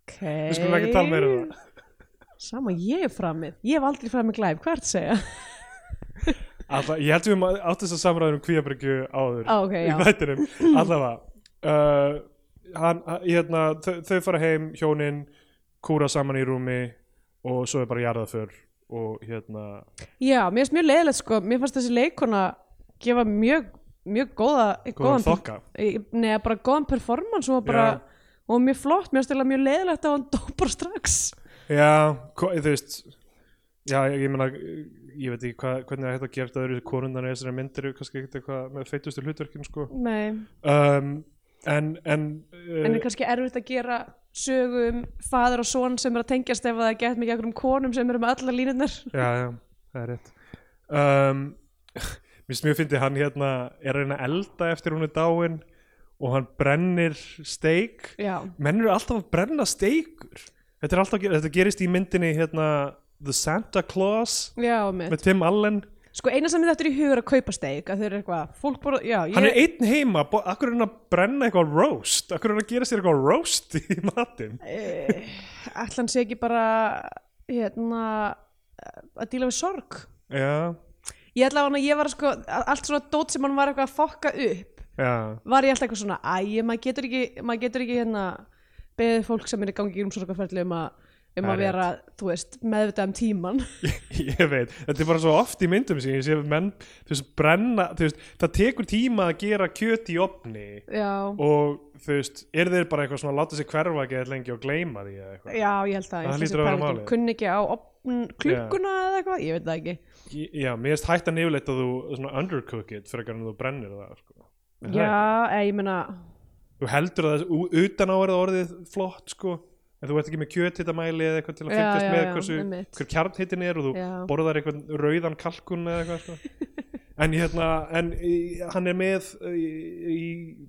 S1: okay.
S2: Við skulum ekki tala meira um það
S1: Sama ég er framið, ég hef aldrei framið glæf, hvað ertu að segja?
S2: [laughs] Alla, Ég held við um átt þess að samræður um kvíabryggju áður
S1: Á, Ah, ok, já.
S2: Í
S1: [laughs]
S2: þættinum Allavega uh, hann, hann- hérna, þau, þau fara heim, hjónin Kúra saman í rúmi Og svo er bara jarðaför Og hérna
S1: Já, mér finnst mjög leiðilegt sko, mér fannst þessi leikona gefa mjög, mjög góða
S2: Góðan
S1: per-
S2: þokka.
S1: í- Nei, bara góðan performance og bara,
S2: Já.
S1: og mjög flott, mér finnst eiginlega mjög leiðilegt að hann dó bara strax
S2: Já, ko- þú veist Já, ég, ég meina, ég veit ekki hva, hvernig það er hægt að gera þetta öðru konundan í þessari myndir kannski ekkert eitthvað með feitustu hlutverkin sko.
S1: Nei,
S2: um, en en, uh,
S1: en er kannski erfitt að gera sögu um faður og son sem er að tengjast ef það er gett mikið einhverjum konum sem eru með allar línirnar
S2: Já, já, það er rétt um, [laughs] Mér finnst mjög fyndið hann hérna er að reyna að elda eftir hún er dáin og hann brennir steik
S1: Já,
S2: menn eru alltaf að brenna steikur þetta, er alltaf, að gera- þetta gerist í myndinni hérna, The Santa Claus
S1: já, mitt
S2: með Tim Allen
S1: Sko eina sem þetta er í hugur að kaupa steik að þau eru eitthvað, fólk bara, já, ég
S2: hann er einn heima, bo- akkur er hann að brenna eitthvað roast, akkur er hann að gera sér eitthvað roast í matinn
S1: uh, ætlan sé ekki bara hérna eh, að díla við sorg
S2: já,
S1: ég ætla að ég var sko a- allt svona dót sem hann var eitthvað að fokka upp
S2: já,
S1: var ég alltaf eitthvað svona æ, maður getur ekki, maður getur ekki hérna beðið fólk sem er í gangi um sorgarferðli um að um
S2: Það er
S1: að vera, þú veist, meðvitað um tíman
S2: ég veit þetta er bara svo oft í myndum sín ég sé að menn, þú veist, brenna þú veist, það tekur tíma að gera kjöt í opni
S1: já,
S2: og þú veist, er þeir bara eitthvað svona að láta sér hverfa ekki lengi og gleyma því eða eitthvað
S1: já, ég held að
S2: Það
S1: ég held
S2: hlýtur að vera
S1: pæla ekki,
S2: málið.
S1: kunni ekki á opn klukkuna eða eitthvað, ég veit það ekki
S2: Í- já, mér finnst hættan yfirleitt að þú svona undercook it fyrir að þú brennir það sko. Er það
S1: já,
S2: ekki?
S1: eða ég meina
S2: þú heldur að það, utan á er það orðið flott sko, en þú ert ekki með kjöthittamæli eða eitthvað til að
S1: Já,
S2: fylgjast
S1: já,
S2: með
S1: já,
S2: hversu,
S1: einmitt.
S2: hver kjarnhittin er og þú
S1: Já.
S2: borðar eitthvað rauðan kalkun eða eitthvað
S1: [laughs]
S2: sko. en hérna en í- hann er með í, í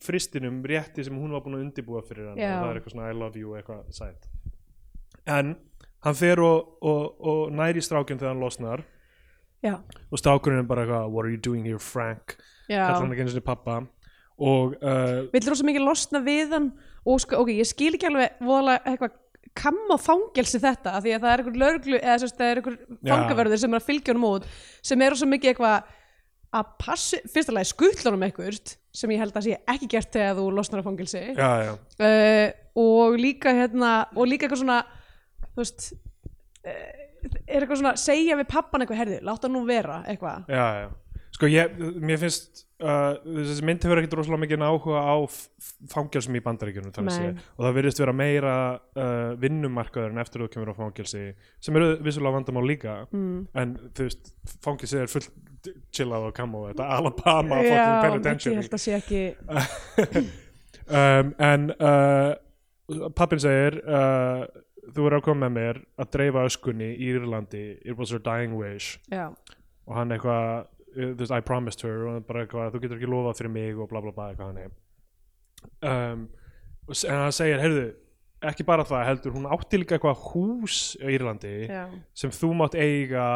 S2: fristinum rétti sem hún var búin að undibúa fyrir hann
S1: Já.
S2: og það er eitthvað svona I love you og eitthvað sætt en hann fer og, og, og næri strákjum þegar hann losnar
S1: já,
S2: og strákurinn er bara eitthvað what are you doing here Frank kallar hann
S1: já,
S2: ekki eins og pappa og uh,
S1: vill rosa mikið losna við hann og sko, ok, ég skil ekki alveg voðalega eitthvað kamma fangelsi þetta af því að það er einhver löglu eða sérst, það er einhver
S2: Já.
S1: fangavörður sem er að fylgja honum út sem er rosa mikið eitthvað að passi, fyrst alveg skuttla honum eitthvað sem ég held að sé ekki gert þegar þú losnar af fangelsi
S2: já, já.
S1: uh, og líka hérna og líka eitthvað svona þú veist uh, er eitthvað svona, segja við pappan eitthvað herði, láta hann nú vera eitthvað
S2: já, já. sko ég, mér finnst uh, þessi mynd hefur ekkert rosalega mikið áhuga á f- f- fangelsum í bandaríkjunum þannig
S1: Nei.
S2: séð. og það virðist vera meira uh, vinnumarkaður en eftir þú kemur á fangelsi sem eru vissulega vandamál líka mm. en þú veist, fangelsi er full chillað og kamó, þetta Alabama fucking
S1: ég
S2: penitentiary
S1: held að sé ekki
S2: [laughs]
S1: [laughs]
S2: um, en uh, pappin segir uh, þú er að koma með mér að dreifa öskunni í Írlandi it was her dying wish
S1: já,
S2: og hann eitthvað uh, þú veist, I promised her og hann bara eitthvað, þú getur ekki lofað fyrir mig og bla bla bla eitthvað hann um, og s- en hann segir, heyrðu ekki bara það heldur, hún átti líka eitthvað hús í Írlandi
S1: já,
S2: sem þú mátt eiga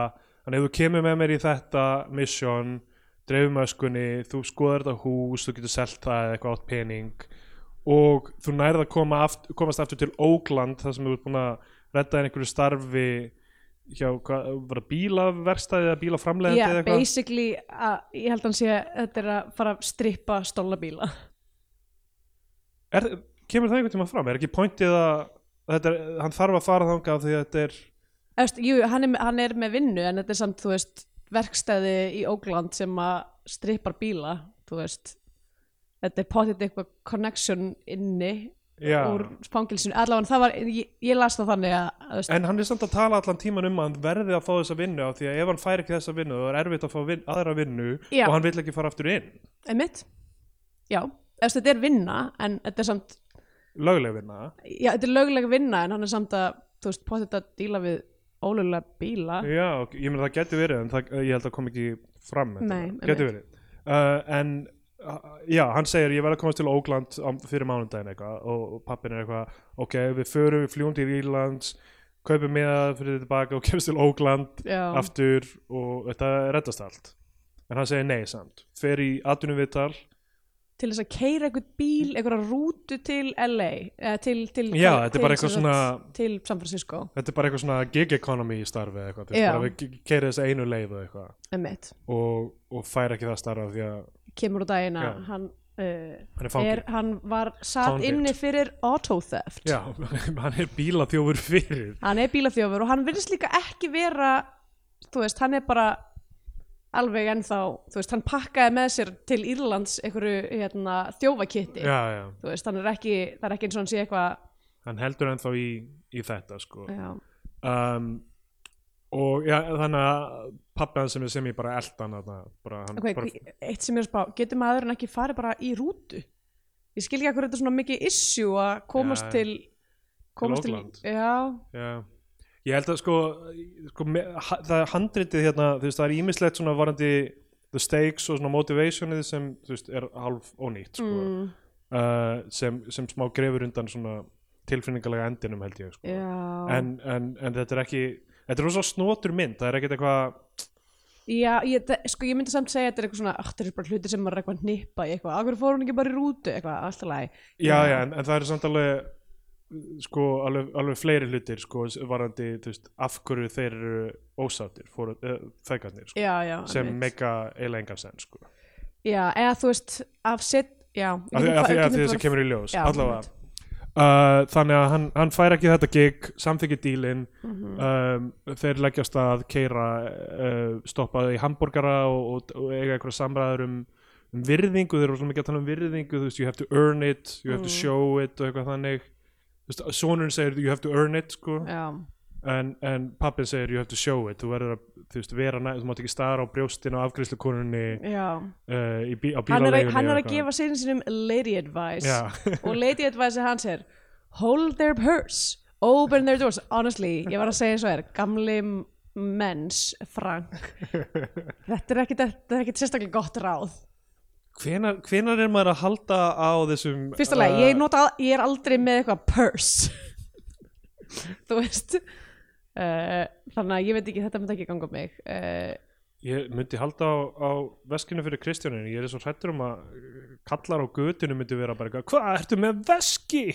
S2: þannig ef þú kemur með mér í þetta mission, dreifumöskunni þú skoðar þetta hús, þú getur selt það eða eitthvað átt pening og þú nærð að koma aft, komast aftur til Oakland þar sem þú ert búin að redda einhverju starfi hjá, hvað, var það bílaverkstæði eða bílaframlegandi
S1: já
S2: eða eitthvað
S1: basically að, ég held að hann sé að þetta er að fara að strippa stóla bíla
S2: er, kemur það einhvern tíma fram, er ekki pointið að þetta er, hann þarf að fara þangað því að þetta er
S1: Efst, jú, hann er, hann er með vinnu en þetta er samt, þú veist, verkstæði í Ógland sem að strippar bíla þú veist þetta er potið eitthvað connection inni
S2: já,
S1: úr spangilsinu, allavega það var ég, ég las það þannig að, þú veist,
S2: en hann er samt að tala allan tíman um að hann verði að fá þessa vinnu af því að ef hann fær ekki þessa vinnu þá er erfitt að fá vin, aðra vinnu
S1: Já.
S2: og hann vill ekki fara aftur inn
S1: einmitt já, eftir, þetta er vinna en þetta er samt,
S2: lögleg vinna
S1: já, þetta er lögulega vinna en hann er samt að, þú veist, potið að díla við ólega bíla
S2: já, ok, ég meina það getur verið en það, ég held að kom ekki fram með
S1: Nei,
S2: þetta. getur verið uh, en uh, já, hann segir ég verði að komast til Ógland fyrir mánudaginn eitthvað og, og pappin er eitthvað ok, við förum, við fljúum til Írlands kaupum miða fyrir þetta baka og [laughs] kemst til Ógland
S1: já,
S2: aftur og þetta reddast allt en hann segir nei samt fer í atunum viðtal
S1: til þess að keira eitthvað bíl, eitthvað rútu til LA, eða til, til
S2: Já,
S1: til-
S2: þetta er bara
S1: til
S2: eitthvað
S1: sem sagt-
S2: svona-
S1: til San Francisco,
S2: þetta er bara eitthvað svona gig economy starfi eða eitthvað, þú
S1: Já.
S2: veist, bara við keiri þessa einu leið og eitthvað
S1: einmitt
S2: og, og fær ekki það starfa því að
S1: kemur úr dagina
S2: Já.
S1: hann, uh,
S2: hann er
S1: er,
S2: fangin
S1: hann var satt
S2: Fanginn.
S1: inni fyrir auto theft
S2: Já, [laughs] hann er bílaþjófur fyrir
S1: hann er bílaþjófur og hann virðist líka ekki vera þú veist, hann er bara alveg ennþá, þú veist, hann pakkaði með sér til Írlands einhverju hérna, þjófakitti,
S2: Já, já,
S1: þú veist, hann er ekki það er ekki eins og hann sé eitthvað
S2: hann heldur ennþá í, í þetta sko
S1: já,
S2: um, og já, þannig að pappi hans sem er sem ég bara eldan þarna, bara, hann,
S1: okay,
S2: Mm, bara,
S1: hví- eitt sem ég er að spá, getur maður en ekki farið bara í rútu ég skil ekki að hverju þetta er svona mikið issue að komast
S2: Já,
S1: til komast til,
S2: Auckland.
S1: já,
S2: Já, ég held að sko, sko me- ha- það er handritið hérna, þú veist, það er ímislegt svona varandi the stakes og svona motivationið sem, þú veist, er hálf ónýtt, sko,
S1: mm,
S2: uh, sem, sem smá grefur undan svona tilfinningalega endinum held ég, sko.
S1: já
S2: En, en, en þetta er ekki, þetta er rosa snotur mynd, það er ekkert eitthvað,
S1: Já, ég, þa- sko, ég myndi samt segja að þetta er eitthvað svona, "Ugh, þetta er bara hluti sem maður er eitthvað nippa í eitthvað, akkur fór hún ekki bara í rútu eitthvað, alltaf læg.
S2: já, já, en, en það er samt alveg, sko, alveg, alveg fleiri hlutir, sko, varandi, þú veist, af hverju þeir eru ósáttir, fóru, uh, fegarnir, sko,
S1: Já, já.
S2: sem
S1: einmitt.
S2: mega eiginlega engan sens, sko.
S1: Já, eða þú veist, af sitt, já. við
S2: af því
S1: getum
S2: af
S1: fa-
S2: því- af
S1: getum
S2: því þessi
S1: bara-
S2: kemur í ljós
S1: Já,
S2: allavega uh, þannig að hann, hann fær ekki þetta gig samþykki dílin
S1: Mhm.
S2: um, þeir leggjast að keira uh, stoppaði í hambúrgara og, og, og eiga einhverja samræður um, um virðingu, þeir eru svona mikið að tala um virðingu þú veist, you have to earn it, you have to
S1: Mhm.
S2: show it og eitthvað þannig Þú veist, sonurinn segir you have to earn it sko
S1: Já,
S2: en, en pappin segir you have to show it þú verður að þú veist, vera næ, þú mátt ekki stara á brjóstin á afgriðslukonunni
S1: já.
S2: uh, í bí, á
S1: Hann er,
S2: bílaleigunni
S1: að- hann
S2: eða
S1: er að
S2: eitthvað.
S1: gefa sinni sinum lady advice
S2: Já.
S1: og lady advice hans er hold their purse, open their doors. Honestly, ég var að segja eins og er, gamli menns, Frank, þetta er ekkit, þetta er ekkit sérstaklega gott ráð.
S2: Hvenar, hvenar er maður að halda á þessum
S1: Fyrsta uh, ég, nota, ég er aldrei með eitthvað purse [laughs] Þú veist uh, Þannig að ég veit ekki, þetta myndi ekki ganga um mig uh,
S2: ég myndi halda á, á veskinu fyrir Kristjánin ég er svo hrættur um að kallar á götinu myndi vera bara eitthvað hvað, ertu með veski?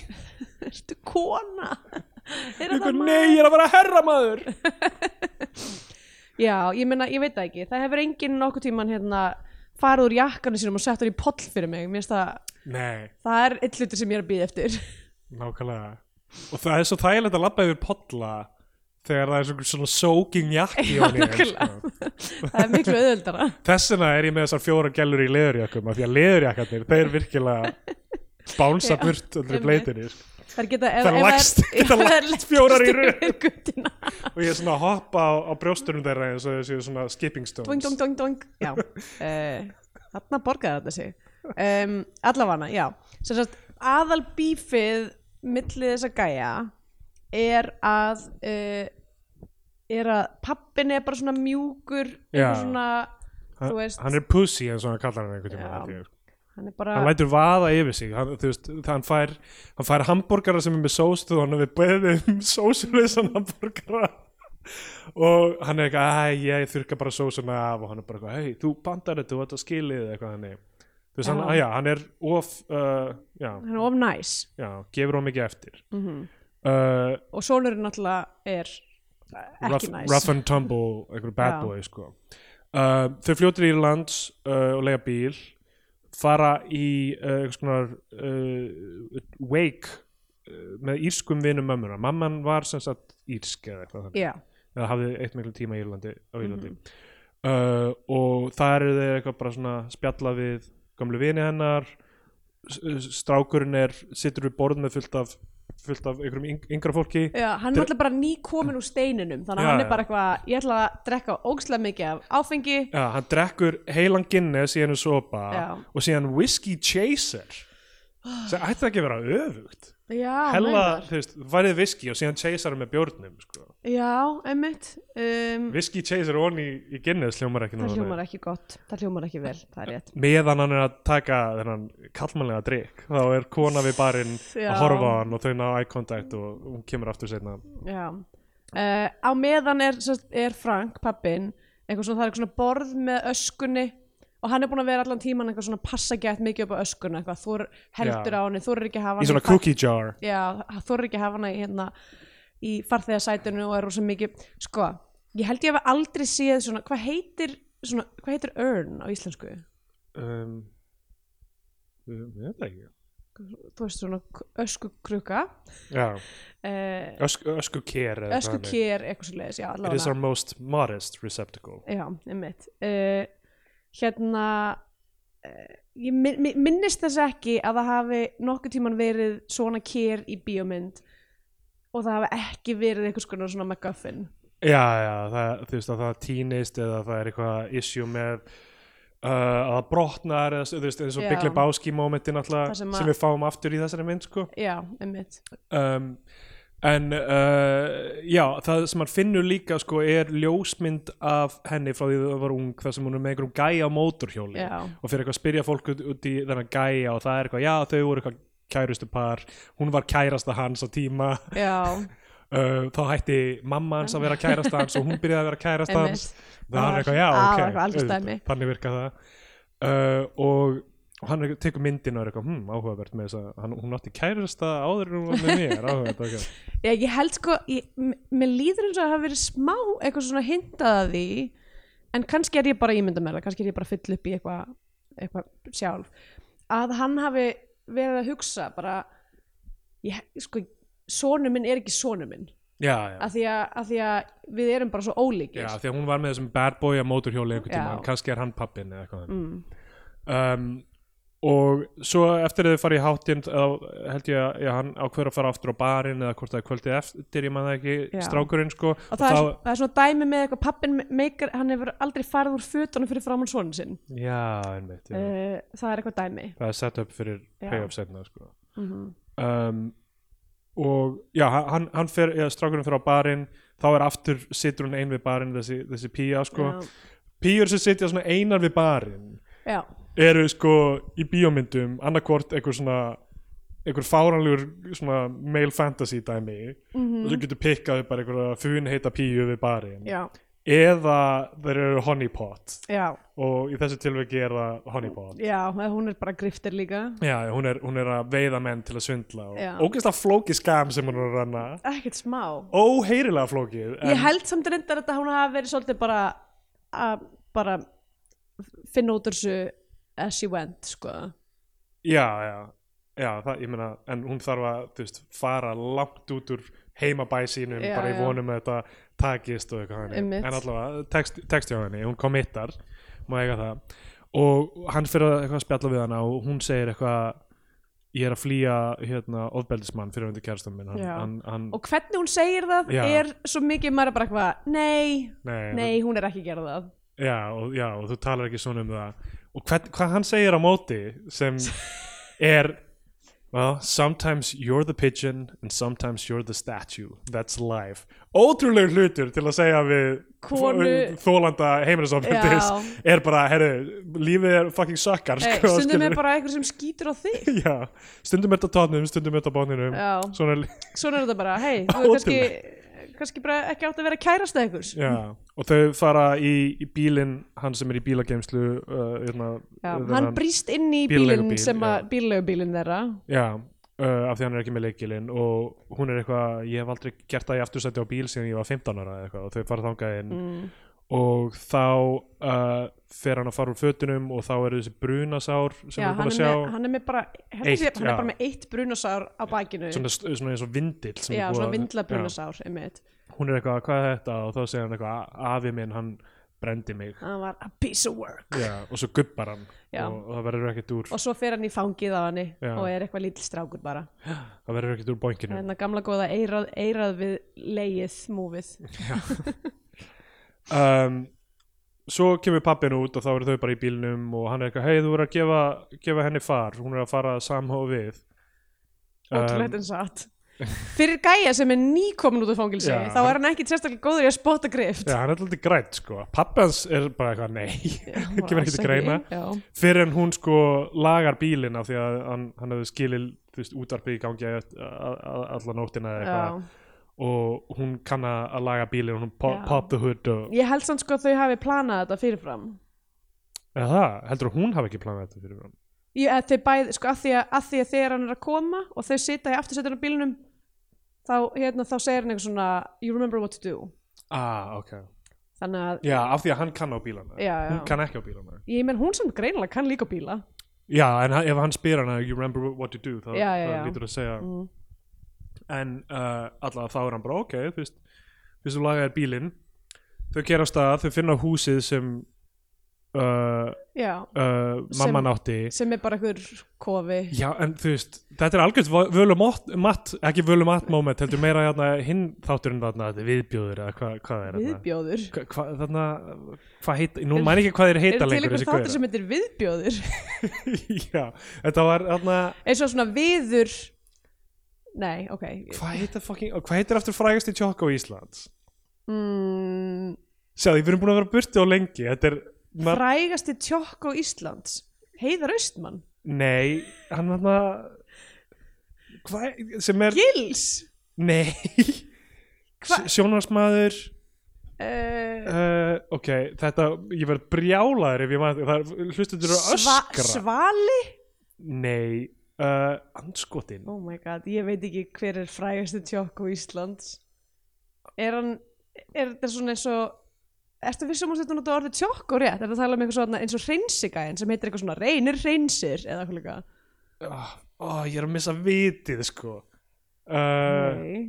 S1: Ertu kona? [laughs] Er
S2: Eitthvað, nei, ég er að vera herramaður
S1: Já, ég meina, ég veit það ekki Það hefur enginn nokkuð tíman hérna farið úr jakkanum sínum og sett hann í poll fyrir mig Mér finnst það,
S2: nei,
S1: það er eitt hlutur sem ég er að býða eftir
S2: nákvæmlega og það er svo þægilegt að labba yfir podla þegar það er svona, svona sóking jakki
S1: [laughs] Já,
S2: ofan í þeim,
S1: nákvæmlega. [laughs]
S2: sko.
S1: Það er miklu auðveldara
S2: þess vegna er ég með þessar fjóra gælur í leðurjakkum af því að leðurjakkarnir, þeir
S1: [laughs]
S2: virkilega bánsa
S1: Já,
S2: burt sko. öllri
S1: einmitt.
S2: bleitinir
S1: Það geta, ef,
S2: Það er
S1: [laughs] ef
S2: lagst-
S1: Já,
S2: það er
S1: það er
S2: lagst fjórar í
S1: lagst
S2: röð.
S1: [laughs] yfir göttina.
S2: og ég er svona að hoppa á, á brjóstunum þeirra eins og þessi svona skipping stones
S1: Dong, dong, dong, dong, já uh, Þarna borgaði þetta sig um, Allafana, já Sem sagt, aðal bífið millið þessa gæja er að uh, er að pappin er bara svona mjúkur
S2: Já.
S1: eitthvað svona, þú
S2: hann,
S1: veist
S2: hann er pussy eins og hann kallar hann einhvern tíma
S1: Já.
S2: held ég. sko.
S1: hann er bara
S2: hann lætur vaða yfir sig hann, þú veist, hann fær, hann fær hambúrgara sem er með um sós þú hann við [laughs] beðum sósuleysan hambúrgara og hann er eitthvað æ, ég þurka bara sósuna af og hann er bara eitthvað, hei, þú bandar þetta, þú þetta skilið eitthvað hann þú veist, hann,
S1: Já.
S2: að, já, hann er of uh, já,
S1: hann er of næs
S2: já, gefur hann mikið eftir
S1: mm
S2: uh,
S1: og sonurinn náttúrulega er ekki
S2: rough,
S1: næs
S2: rough and tumble, einhver bad
S1: Já.
S2: boy sko. uh, þau fljótur í lands uh, og lega bíl fara í uh, einhvers konar uh, wake uh, með írskum vinum mömmuna mamman var sem sagt írsk eða eitthvað þannig
S1: já,
S2: eða hafði eitt miklu tíma í Írlandi, á Írlandi
S1: Mhm.
S2: uh, og það eru þeir eitthvað bara svona spjalla við gamlu vini hennar s- s- strákurinn er, situr við borð með fullt af, fullt af einhverjum yng- yngra fólki
S1: já, hann er náttúrulega bara nýkomin úr steininum þannig að
S2: Já,
S1: hann
S2: já.
S1: er bara eitthvað, ég ætla að drekka ógslega mikið af áfengi
S2: Já, hann drekkur heilan Guinness í hennu sopa
S1: Já.
S2: og síðan Whiskey Chaser sem ætti ekki að vera öfugt
S1: já,
S2: hella,
S1: meinar.
S2: þú veist, þú færið whisky og síðan chaser með bjórnum sko.
S1: já, einmitt um,
S2: Whiskey Chaser og í, í Guinness hljómar ekki
S1: það
S2: nógu
S1: hljómar
S2: vel.
S1: ekki gott, það hljómar ekki vel það er rétt
S2: meðan hann er að taka þennan kallmannlega drikk þá er kona við barinn
S1: Já.
S2: að horfa á hann og þau ná eye contact og hún kemur aftur seinna
S1: Já. Uh, á meðan er, sem sagt, er Frank, pappin, eitthvað svona, það er eitthvað svona borð með öskunni og hann er búinn að vera allan tíman eitthvað svona passa gett mikið upp á öskuna, eitthvað, þú heldur
S2: Já.
S1: á henni, þú ekki að hafa
S2: í
S1: hana
S2: svona
S1: far-
S2: cookie jar
S1: Já, þú ekki að hafa hana í, hérna, í farþegasætinu og er rosa mikið, sko, ég held ég hef aldrei séð svona, hvað heitir, svona, hvað heitir urn á íslensku?
S2: um, um, ég veit það ekki
S1: Þú veist svona öskukrukka,
S2: Já,
S1: uh,
S2: ösku, ösku kér
S1: öskukér, eitthvað svo leiðis, já,
S2: It
S1: allavega.
S2: is our most modest receptacle.
S1: Já, einmitt. Uh, hérna, uh, ég min- min- minnist þess ekki að það hafi nokkuð tíman verið svona kér í bíómynd og það hafi ekki verið einhvers konar svona MacGuffin.
S2: Já, já, það, þú veist að það týnist eða það er eitthvað issue með uh, að það brotnar eða þú veist eins og
S1: Já.
S2: Big Lebowski momentin alltaf
S1: Það sem
S2: sem,
S1: að-
S2: við fáum aftur í þessari mynd sko.
S1: Já, einmitt.
S2: um, en uh, já, það sem hann finnur líka sko er ljósmynd af henni frá því það var ung þar sem hún er með einhverjum gæja á mótorhjóli
S1: Já.
S2: og fyrir eitthvað að spyrja fólk út, út í þennan gæja og það er eitthvað, já þau voru eitthvað kærustu par, hún var kærasta hans á tíma
S1: Já,
S2: uh, þá hætti mamma hans að vera kærast hans og hún byrjaði að vera kærast hans það var eitthvað, já,
S1: Það var
S2: ok
S1: eitthvað alls
S2: auðvitað,
S1: dæmi.
S2: þannig virka það uh, og, og hann er- tekur myndin og er eitthvað, hm, áhugavert með þess að hann, hún átti kærasta áður en hún var
S1: [laughs]
S2: með mér áhugavert, ok,
S1: ég, ég held sko, ég, m- mér líður eins og að hafa verið smá eitthvað svona hintað að því en kannski er ég bara að ímynda mér það, kannski er ég bara að fylla upp í eitthvað eitthva sjálf að hann hafi verið að hugsa bara ég, sko, sonu minn er ekki sonu minn
S2: já, já
S1: að því að, að því að við erum bara svo ólíkir
S2: Já, því að hún var með þessum bad boy að móturhjóli einhvern tíma,
S1: Já.
S2: kannski er hann pappin eða eitthvað
S1: mm,
S2: um, og svo eftir að þau farið í hátinn þá held ég að já, hann ákveður að fara aftur á barinn eða hvort það er kvöldið eftir, ég man það ekki
S1: Já.
S2: strákurinn sko
S1: og það, er, það er svona dæmi með eitthvað pappin meikar, hann hefur aldrei farið úr fötunum fyrir framann sonin sinn
S2: já, einmitt, já.
S1: uh, það er eitthvað dæmi
S2: það er set up fyrir
S1: Já.
S2: payoff setna sko.
S1: mm
S2: um, og já, hann, hann fer eða strákurinn fyrir á barinn þá er aftur situr hún ein við barinn þessi, þessi pía sko píur sem sitja svona einar við barinn
S1: já,
S2: eru sko í bíómyndum annarkvort einhver svona einhver fáranlegur svona male fantasy dæmi og þú getur pikkað upp bara einhverja fun heita píu við barinn
S1: Mhm. já,
S2: eða þeir eru honeypot
S1: já.
S2: og í þessu tilveki er það honeypot
S1: Já, eða hún er bara grifter líka
S2: Já, hún er, hún er að veiða menn til að svindla
S1: Já.
S2: og ógeðslega flókið skam sem hún er að ranna
S1: Ekkert smá
S2: óheyrilega flókið
S1: Ég held samt reyndar að hún hafa verið svolítið bara að bara finna út úr þessu as she went sko
S2: Já, já, já það, ég meina en hún þarf að þú veist, fara langt út úr heimabæ sínum
S1: Já,
S2: bara í
S1: já.
S2: vonum að þetta takist og eitthvað hann
S1: Einmitt.
S2: en allavega, text, text hjá henni, hún committar má eiga það og hann fyrir að eitthvað spjalla við hana og hún segir eitthvað ég er að flýja hérna ofbeldismann fyrir hundi kærastum minn hann,
S1: Já.
S2: hann, hann,
S1: og hvernig hún segir það
S2: Já.
S1: er svo mikið maður er bara eitthvað nei,
S2: nei,
S1: nei, hún er ekki að gera
S2: [laughs]
S1: það
S2: já og, já, og þú
S1: [laughs]
S2: talar ekki svona um það og hvað, hvað hann segir á móti sem er Well, sometimes you're the pigeon and sometimes you're the statue. That's life. Ótrúlegur hlutur til að segja við
S1: Konu-
S2: þólanda heimilisofbjöndis er bara, herru, lífið er fucking sökkar.
S1: Eh,
S2: sko,
S1: stundum er
S2: skilurðu.
S1: bara einhver sem skýtur á þig
S2: [laughs] Já, stundum er þetta á tónum, stundum er þetta á bóninum.
S1: já,
S2: Svona,
S1: svona er þetta bara hei,
S2: [laughs]
S1: þú er kannski kannski bara ekki átt að vera kærasta einhvers
S2: já. Og þau fara í, í bílinn, hann sem er í bílageimslu, uh, hérna,
S1: já,
S2: þennan-
S1: hann brýst inn í bílinn
S2: Bílaleigubíl,
S1: sem
S2: já.
S1: að bíllegubílinn þeirra
S2: Já, uh, af því hann er ekki með leikilinn og hún er eitthvað, ég hef aldrei gert það í aftursæti á bíl síðan ég var 15 ára eða eitthvað og þau fara þangað inn
S1: Mm.
S2: og þá uh, fer hann að fara úr fötunum og þá eru þessi brunasár sem
S1: já,
S2: við erum
S1: hann,
S2: búin
S1: er með,
S2: að sjá
S1: hann er með bara hann,
S2: Eitt,
S1: eitt, hann
S2: já.
S1: er bara með eitt brunasár á bakinu
S2: svona, svona eins og vindill sem er
S1: já,
S2: búið
S1: svona
S2: að-
S1: vindla
S2: Já.
S1: brunasár einmitt.
S2: Hún er eitthvað, hvað er þetta og þá segir hann eitthvað, "A- afi minn hann brendi mig
S1: hann var a piece of work
S2: Já, og svo gubbar hann
S1: Já.
S2: og, og það verður ekkert úr,
S1: og svo fer hann í fangið á henni
S2: Já.
S1: og er eitthvað lítill strákur bara
S2: það verður ekkert úr bónginu
S1: þannig að gamla góða eirað, eirað við leið múfið
S2: um, svo kemur pappin út og þá eru þau bara í bílnum og hann er eitthvað, hei þú verður að gefa, gefa henni far hún er að fara samhóð við Um,
S1: ótrúlegt en
S2: [laughs]
S1: satt fyrir gæja sem er nýkomin út af fangilsi
S2: Já.
S1: þá er hann ekki sérstaklega góður í að spotta grift
S2: Já,
S1: [laughs]
S2: hann er alltaf grætt sko pappi hans er bara eitthvað, nei [laughs]
S1: hann var
S2: kemur
S1: alls
S2: ekki til greina
S1: já.
S2: fyrir en hún sko lagar bílinn af því að hann, hann hefði skilið þú veist, útvarpið í gangi að- að- að- alla nóttina eða eitthvað
S1: Já.
S2: og hún kann að að laga bílinn hún pop,
S1: Já.
S2: pop the hood og,
S1: ég held samt sko að þau hafi planað þetta fyrirfram
S2: eða það, heldur hún hafi ekki planað þetta fyrir hann
S1: ég, að þau bæð, sko að því að, að því að þegar hann er að koma og þau sita í aftursetur á bílnum þá, hérna, þá segir hann eitthvað svona you remember what to do
S2: ah, ok
S1: þannig að,
S2: já, af því að hann kann á bílana
S1: já, já
S2: hún kann ekki á bílana
S1: ég menn hún sem greinilega kann líka bíla
S2: Já, en hann- ef hann spyr hana You remember what you do þá
S1: Já, já,
S2: þá
S1: já.
S2: lítur að segja
S1: Mm.
S2: En uh, allavega þá er hann bara ok Þú veist, þú veist þú lagaðir bílinn Þau kera á stað, þau finna húsið sem uh,
S1: já,
S2: uh, mamma
S1: Sem-
S2: nátti
S1: sem er bara einhver kofi
S2: Já, en þú veist, þetta er algjörst völumatt, matt, ekki völumatt moment heldur meira hérna, hinn þátturinn þarna þetta er viðbjóður eða hvað, hvað er þetta
S1: viðbjóður
S2: Hva, hva, þarna, hvað heit, nú mæn ekki hvað þeir
S1: er
S2: heita
S1: til
S2: lengur
S1: einhver
S2: þessi
S1: þáttur sem heitir viðbjóður
S2: gauðir [laughs] Já, þetta var þarna
S1: eins og svona viður nei, ok
S2: Hvað heitir fucking, hvað heitir aftur frægast í tjóka á Íslands?
S1: mm,
S2: Sjáðu, við erum búin að vera burti á lengi, þetta er na,
S1: frægasti tjokk á Íslands Heiðar Austmann
S2: Nei, hann hann að Hvað, sem er
S1: Gils
S2: Nei
S1: Hva-
S2: Sjónarsmaður
S1: uh,
S2: uh, Ok, þetta, ég verð brjálaður ef ég maður, það er, hlustu þetta eru að
S1: sva,
S2: öskra
S1: Svali
S2: Nei, uh, anskotin
S1: Oh my god, ég veit ekki hver er frægasti tjokk á Íslands Er hann er þetta svona eins og Ertu vissum að þetta orðið tjokk og rétt? Er það að tala um eitthvað svona eins og hreinsigæðin sem heitir eitthvað svona reynir hreinsir eða eitthvað líka?
S2: oh, Ég er að missa vitið, sko uh,
S1: Nei.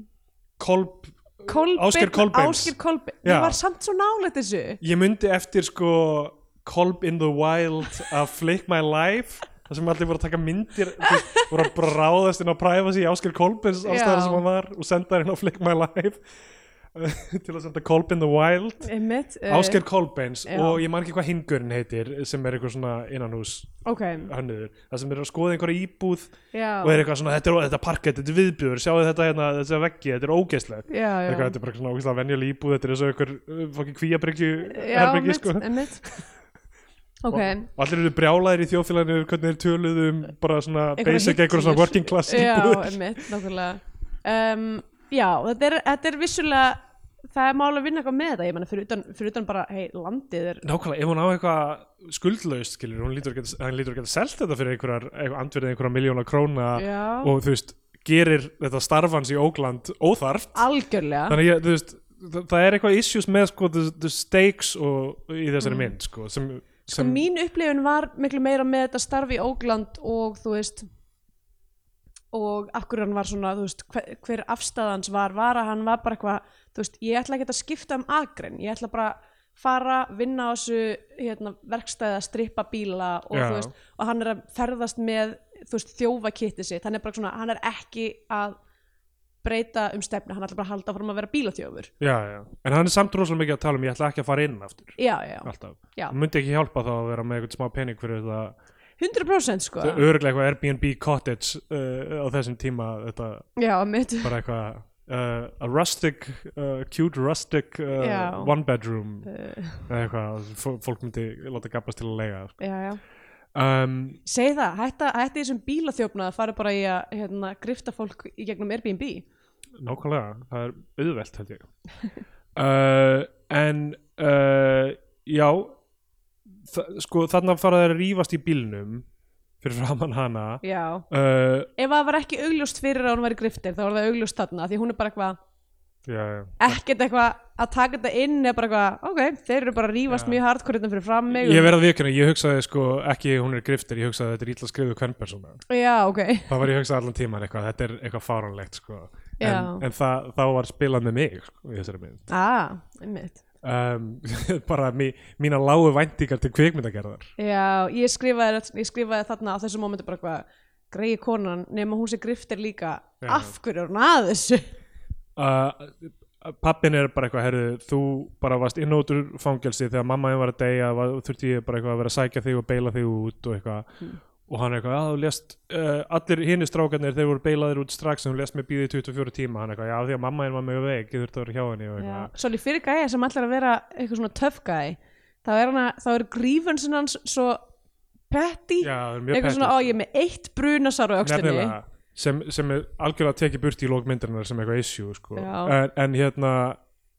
S2: Kolb
S1: Kolbeinn,
S2: Ásgeir Kolbeins.
S1: Ásgeir Kolbeins.
S2: Já.
S1: Ég var samt svo nálægt þessu.
S2: Ég myndi eftir sko Kolb in the Wild að Flake My Life þar sem allir voru að taka myndir þú veist, voru að bara ráðast inn á privacy Áskil Kolbins ástæðar
S1: Já.
S2: sem hann var og senda hann inn á Flake My Life [laughs] eh, til að senda Kolb in the Wild
S1: Einmitt. eh,
S2: Ásker Kolbeins
S1: já.
S2: og ég man ekki hvað hingurinn heitir sem er eitthvað svona innanhús
S1: Ok,
S2: hönnuður, það sem er að skoða einhverja íbúð
S1: já.
S2: og er eitthvað svona, þetta er þetta er parkett, þetta er viðbjör sjáu þetta hérna, þetta er veggi, þetta er ógeðslegt
S1: Já, já.
S2: eitthvað, þetta er bara svona ógeðslega venjuleg íbúð þetta er eins og einhver uh, fokkin kvíabryggju
S1: Já,
S2: herbergi, sko.
S1: einmitt.
S2: [laughs]
S1: Ok.
S2: og allir eru brjálæðir í þjófélaginu hvernig þeir töluðu um bara svona
S1: Einhverjar
S2: basic,
S1: hillur.
S2: einhverja svona working class
S1: Já,
S2: íbúður
S1: einmitt, nákvæmlega. Um, já, þetta er, þetta er vissulega, það er mál að vinna eitthvað með þetta, ég menna fyrir utan, fyrir utan bara, hei, landið er,
S2: Nákvæmlega, ef hún á eitthvað skuldlaust skilur, hún lítur ekki, hann lítur ekki að selta þetta fyrir einhverjar, einhver andverðið einhverja miljóna króna
S1: Já.
S2: og þú veist, gerir þetta starfans í Ógland óþarft
S1: algjörlega,
S2: þannig að ég, þú veist, þa- það er eitthvað issues með sko, the, the stakes og, í þessari mynd sko, sem, sem
S1: Mm. mín upplifun var miklu meira með þetta starfi í Ógland og þú veist, og akkur hann var svona, þú veist, hver, hver afstæðans var, var að hann var bara eitthvað, þú veist, ég ætla ekki að skipta um agrin, ég ætla bara fara, vinna á þessu hérna, verkstæði að strippa bíla og,
S2: Já.
S1: þú veist, og hann er að ferðast með þú veist, þjófa kitti sitt, hann er bara svona, hann er ekki að breyta um stefnu, hann ætla bara að halda fórum að vera bílaþjófur.
S2: já, já. en hann er samt rosalega mikið að tala um ég ætla ekki að fara inn aftur
S1: Já, já, já.
S2: alltaf, hann myndi ekki hjálpa þá að vera með eitthvað smá pening fyrir þetta
S1: 100% sko
S2: Það er öruglega eitthvað Airbnb cottage uh, á þessum tíma þetta
S1: já, mitt [laughs]
S2: bara eitthvað uh, a rustic, uh, cute rustic
S1: Já.
S2: uh, one bedroom
S1: Uh,
S2: eða eitthvað, fó- fólk myndi láta gabbast til að lega
S1: já, já.
S2: um,
S1: segi það, hætta, hætta þessum bílaþjófna að fara bara í að hérna, grifta fólk í gegnum Airbnb
S2: Nákvæmlega, það er auðvelt held ég uh, En uh, já þa- sko þarna fara þær að rífast í bílnum fyrir framann hana
S1: já,
S2: uh,
S1: ef það var ekki augljóst fyrir að hún væri griftir þá var það augljóst þarna því hún er bara eitthvað,
S2: já, já.
S1: ekkert eitthvað að taka þetta inn eða bara eitthvað, ok, þeir eru bara að rífast
S2: Já.
S1: mjög hardcore hérna fyrir fram mig
S2: Ég verð að vikuna, ég hugsaði sko ekki hún er griftir, ég hugsaði þetta er ítla skrifu kvennpersóna
S1: já,
S2: [laughs]
S1: ok,
S2: Það var ég hugsaði allan tíman eitthvað, þetta er eitthvað fáránlegt sko
S1: Já.
S2: En, en það, þá var spilað með mig sko, í þessari mynd
S1: ah, einmitt
S2: um, [laughs] Bara mí, mína lágu væntingar til kvikmyndagerðar
S1: já, ég skrifaði, ég skrifaði þarna á þessu mómentu bara eitthvað greiði konan nema hún sé griftir líka
S2: Já.
S1: af hverju er hún að þessu
S2: uh, pappin er bara eitthvað herru, þú bara varst inn og út úr fangelsi þegar mamma þín var að deyja var, þurfti ég bara eitthvað að vera að sækja þig og beila þig út og eitthvað
S1: Mm.
S2: og hann er eitthvað, að þú lést uh, allir hinu strákarnir, þeir voru beilaðir út strax en þú lést mig bíða í 24 tíma, hann er eitthvað já því að mamma þín var mjög veik, ég þurfti að vera hjá henni og eitthvað,
S1: Svolítið fyrir gæja sem ætlar að vera eitthvað svona tough guy þá er, hana, þá er grífensinn hans svo petty
S2: já, það er mjög sko.
S1: eitthvað svona á ég er með eitt brunasár á öxlinni
S2: nefnilega sem, sem er algjörlega tekið burt í lókmyndarinnar sem eitthvað issue sko.
S1: Já.
S2: en, en hérna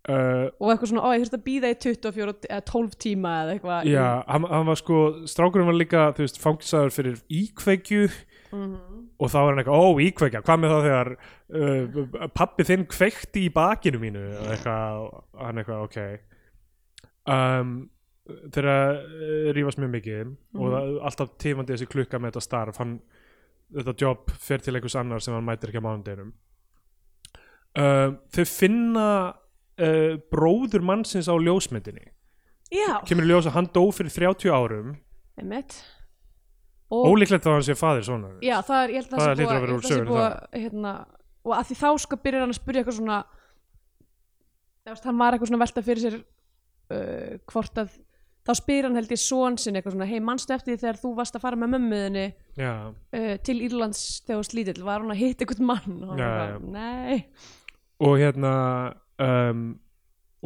S2: uh,
S1: og eitthvað svona ó ég þurfti að býða í 24 t- eða 12 tíma eða eitthvað
S2: já, hann, hann var sko strákurinn var líka, þú veist, fangisaður fyrir íkveikju og þá var hann eitthvað, ó, íkveikja, hvað með það þegar uh, pappi þinn kveikti í bakinu mínu og eitthvað, og hann eitthvað, ok um, þegar uh, rífast mjög mikið og það, alltaf tífandi þessi klukka með þetta starf hann, þetta jobb fer til einhvers annar sem hann mætir ekki á mánudeginum uh, þau finna uh, bróður mannsins á ljósmyndinni
S1: já
S2: kemur í ljós að hann dó fyrir 30 árum
S1: einmitt
S2: og...
S1: og
S2: ólíklegt þá hann sé faðir svona
S1: já það er ég held að
S2: Það
S1: það sé
S2: hlýtur
S1: búið
S2: að vera
S1: ég held að það
S2: úr
S1: sé
S2: sögunni
S1: búið að, hérna, og að því þá sko byrjar hann að spyrja eitthvað svona þú veist, hann var eitthvað svona að velta fyrir sér uh, hvort að þá spyr hann held ég són sinni eitthvað svona hei manstu eftir því þegar þú varst að fara með mömmuðinni
S2: já,
S1: uh, til Írlands þegar þú varst lítill var hún að hitta eitthvað mann og hann
S2: Já,
S1: bara,
S2: já.
S1: nei
S2: og hérna um,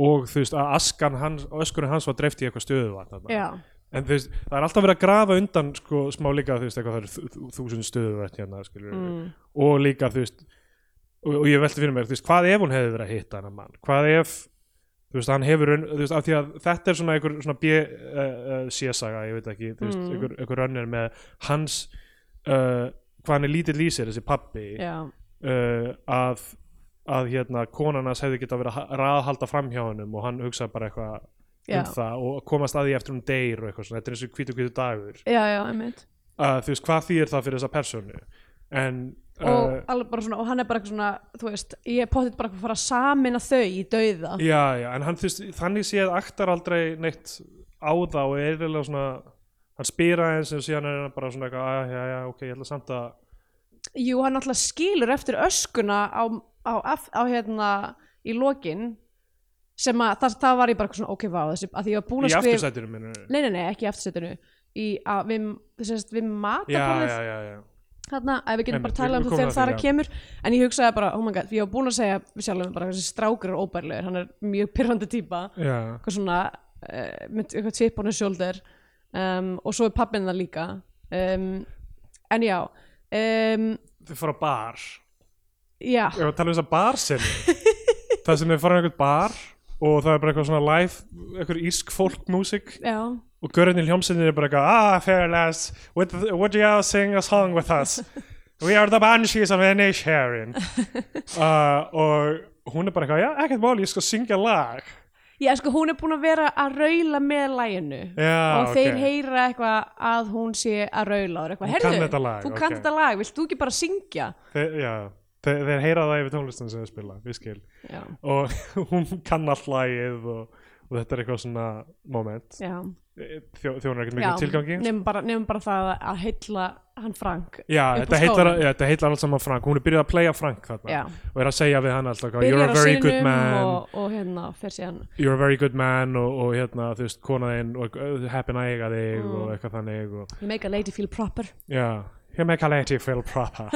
S2: og þú veist að askan hans, öskurinn hans var dreift í eitthvað stöðuvatn þarna.
S1: já,
S2: en þú veist, það er alltaf verið að grafa undan sko, smá líka þú veist, eitthvað það eru þú- þú- þúsund stöðuvatn hérna, skilur
S1: mm,
S2: og líka þú veist og, og ég velti fyrir mér, þú veist, hvað ef hún hefði verið að hitta hennar mann, hvað ef þú veist, hann hefur, raun- þú veist, af því að þetta er svona einhver svona B, uh, uh, C-saga ég veit ekki, þú veist,
S1: Mm.
S2: einhver, einhver rönnir með hans uh, hvað hann er lítill í sér, þessi pappi
S1: já,
S2: uh, að að hérna konan hans hefði geta verið að raðhalda fram hjá hennum og hann hugsaði bara eitthvað
S1: já,
S2: um það og komast að því eftir hún deyr og eitthvað svona, þetta er eins og hvítu hvítu dagur
S1: já, já, einmitt
S2: að þú veist, hvað þýr það fyrir þessa personu en eh,
S1: og,
S2: Uh,
S1: alveg bara svona, og hann er bara eitthvað svona þú veist, ég er pottitt bara að fara að samina þau í dauða
S2: Já, já, en hann, þú veist, þannig séð aktar aldrei neitt á það og er eiginlega svona hann spyr aðeins og síðan er hann bara svona eitthvað, "Ah, já, já, ok, ég ætla samt að
S1: Jú, hann alltaf skilur eftir öskuna á, á, á, á hérna í lokin sem að það, það var ég bara eitthvað svona ok, vá, þessi, að því ég var búin
S2: í
S1: að skrifa
S2: aftursætinu minu
S1: Nei, nei, nei, ekki í aftursetinu í að við, þessast, við
S2: já,
S1: mataborðið
S2: já, já, já,
S1: þarna, að við getum
S2: Einmitt,
S1: bara
S2: við-
S1: talað um
S2: við
S1: það
S2: komum
S1: þegar
S2: að
S1: það
S2: því, já.
S1: kemur en ég hugsaði bara, oh my god, ég var búin að segja við sjálfum bara þessi strákur er óbærlegur hann er mjög pyrrandi típa
S2: já,
S1: eitthvað svona, uh, með eitthvað tip on his shoulder um, og svo er pappin það líka um, en já um,
S2: þau fara á bar
S1: já,
S2: ég var að tala um þess að bar sinni það sem þau fara á einhvern bar og það er bara eitthvað svona live, einhver ísk folkmusik
S1: já
S2: og görðin í hljómsinni er bara eitthvað ah, Fairless, would, would you sing a song with us? We are the banshees of any
S1: [laughs]
S2: sharing uh, og hún er bara eitthvað, já, ekkert mál, ég skal syngja lag
S1: Já, sko, hún er búin að vera að raula með læginu
S2: já,
S1: og
S2: ok.
S1: þeir heyra eitthvað að hún sé að raula og er eitthvað,
S2: Hún kann þetta lag,
S1: þú
S2: ok.
S1: kannt þetta lag, vilt þú ekki bara syngja?
S2: þeir, já, þeir, [laughs] þeir heyra það yfir tónlistin sem þeir spila, við skil
S1: Já,
S2: og hún kann allt lagið og, og þetta er eitthvað svona moment
S1: já,
S2: Þjó, þjónar
S1: já
S2: ekkert mikið tilgangi
S1: nefnum bara, nefnum bara það að heilla hann Frank
S2: já,
S1: upp á
S2: þetta heitlar,
S1: skónum.
S2: já, þetta heitlar alls saman Frank hún er byrjuð að playa Frank þarna
S1: já,
S2: og er að segja við hann alltaf you're
S1: byrjar
S2: a
S1: á
S2: very good
S1: sinum
S2: man
S1: og, og hérna fer síðan
S2: you're a very good man og, og hérna þú veist konaðinn og uh, heppin að eiga þig og eitthvað þannig og
S1: you make a lady feel proper
S2: Já, ég með kalleiti Phil Proper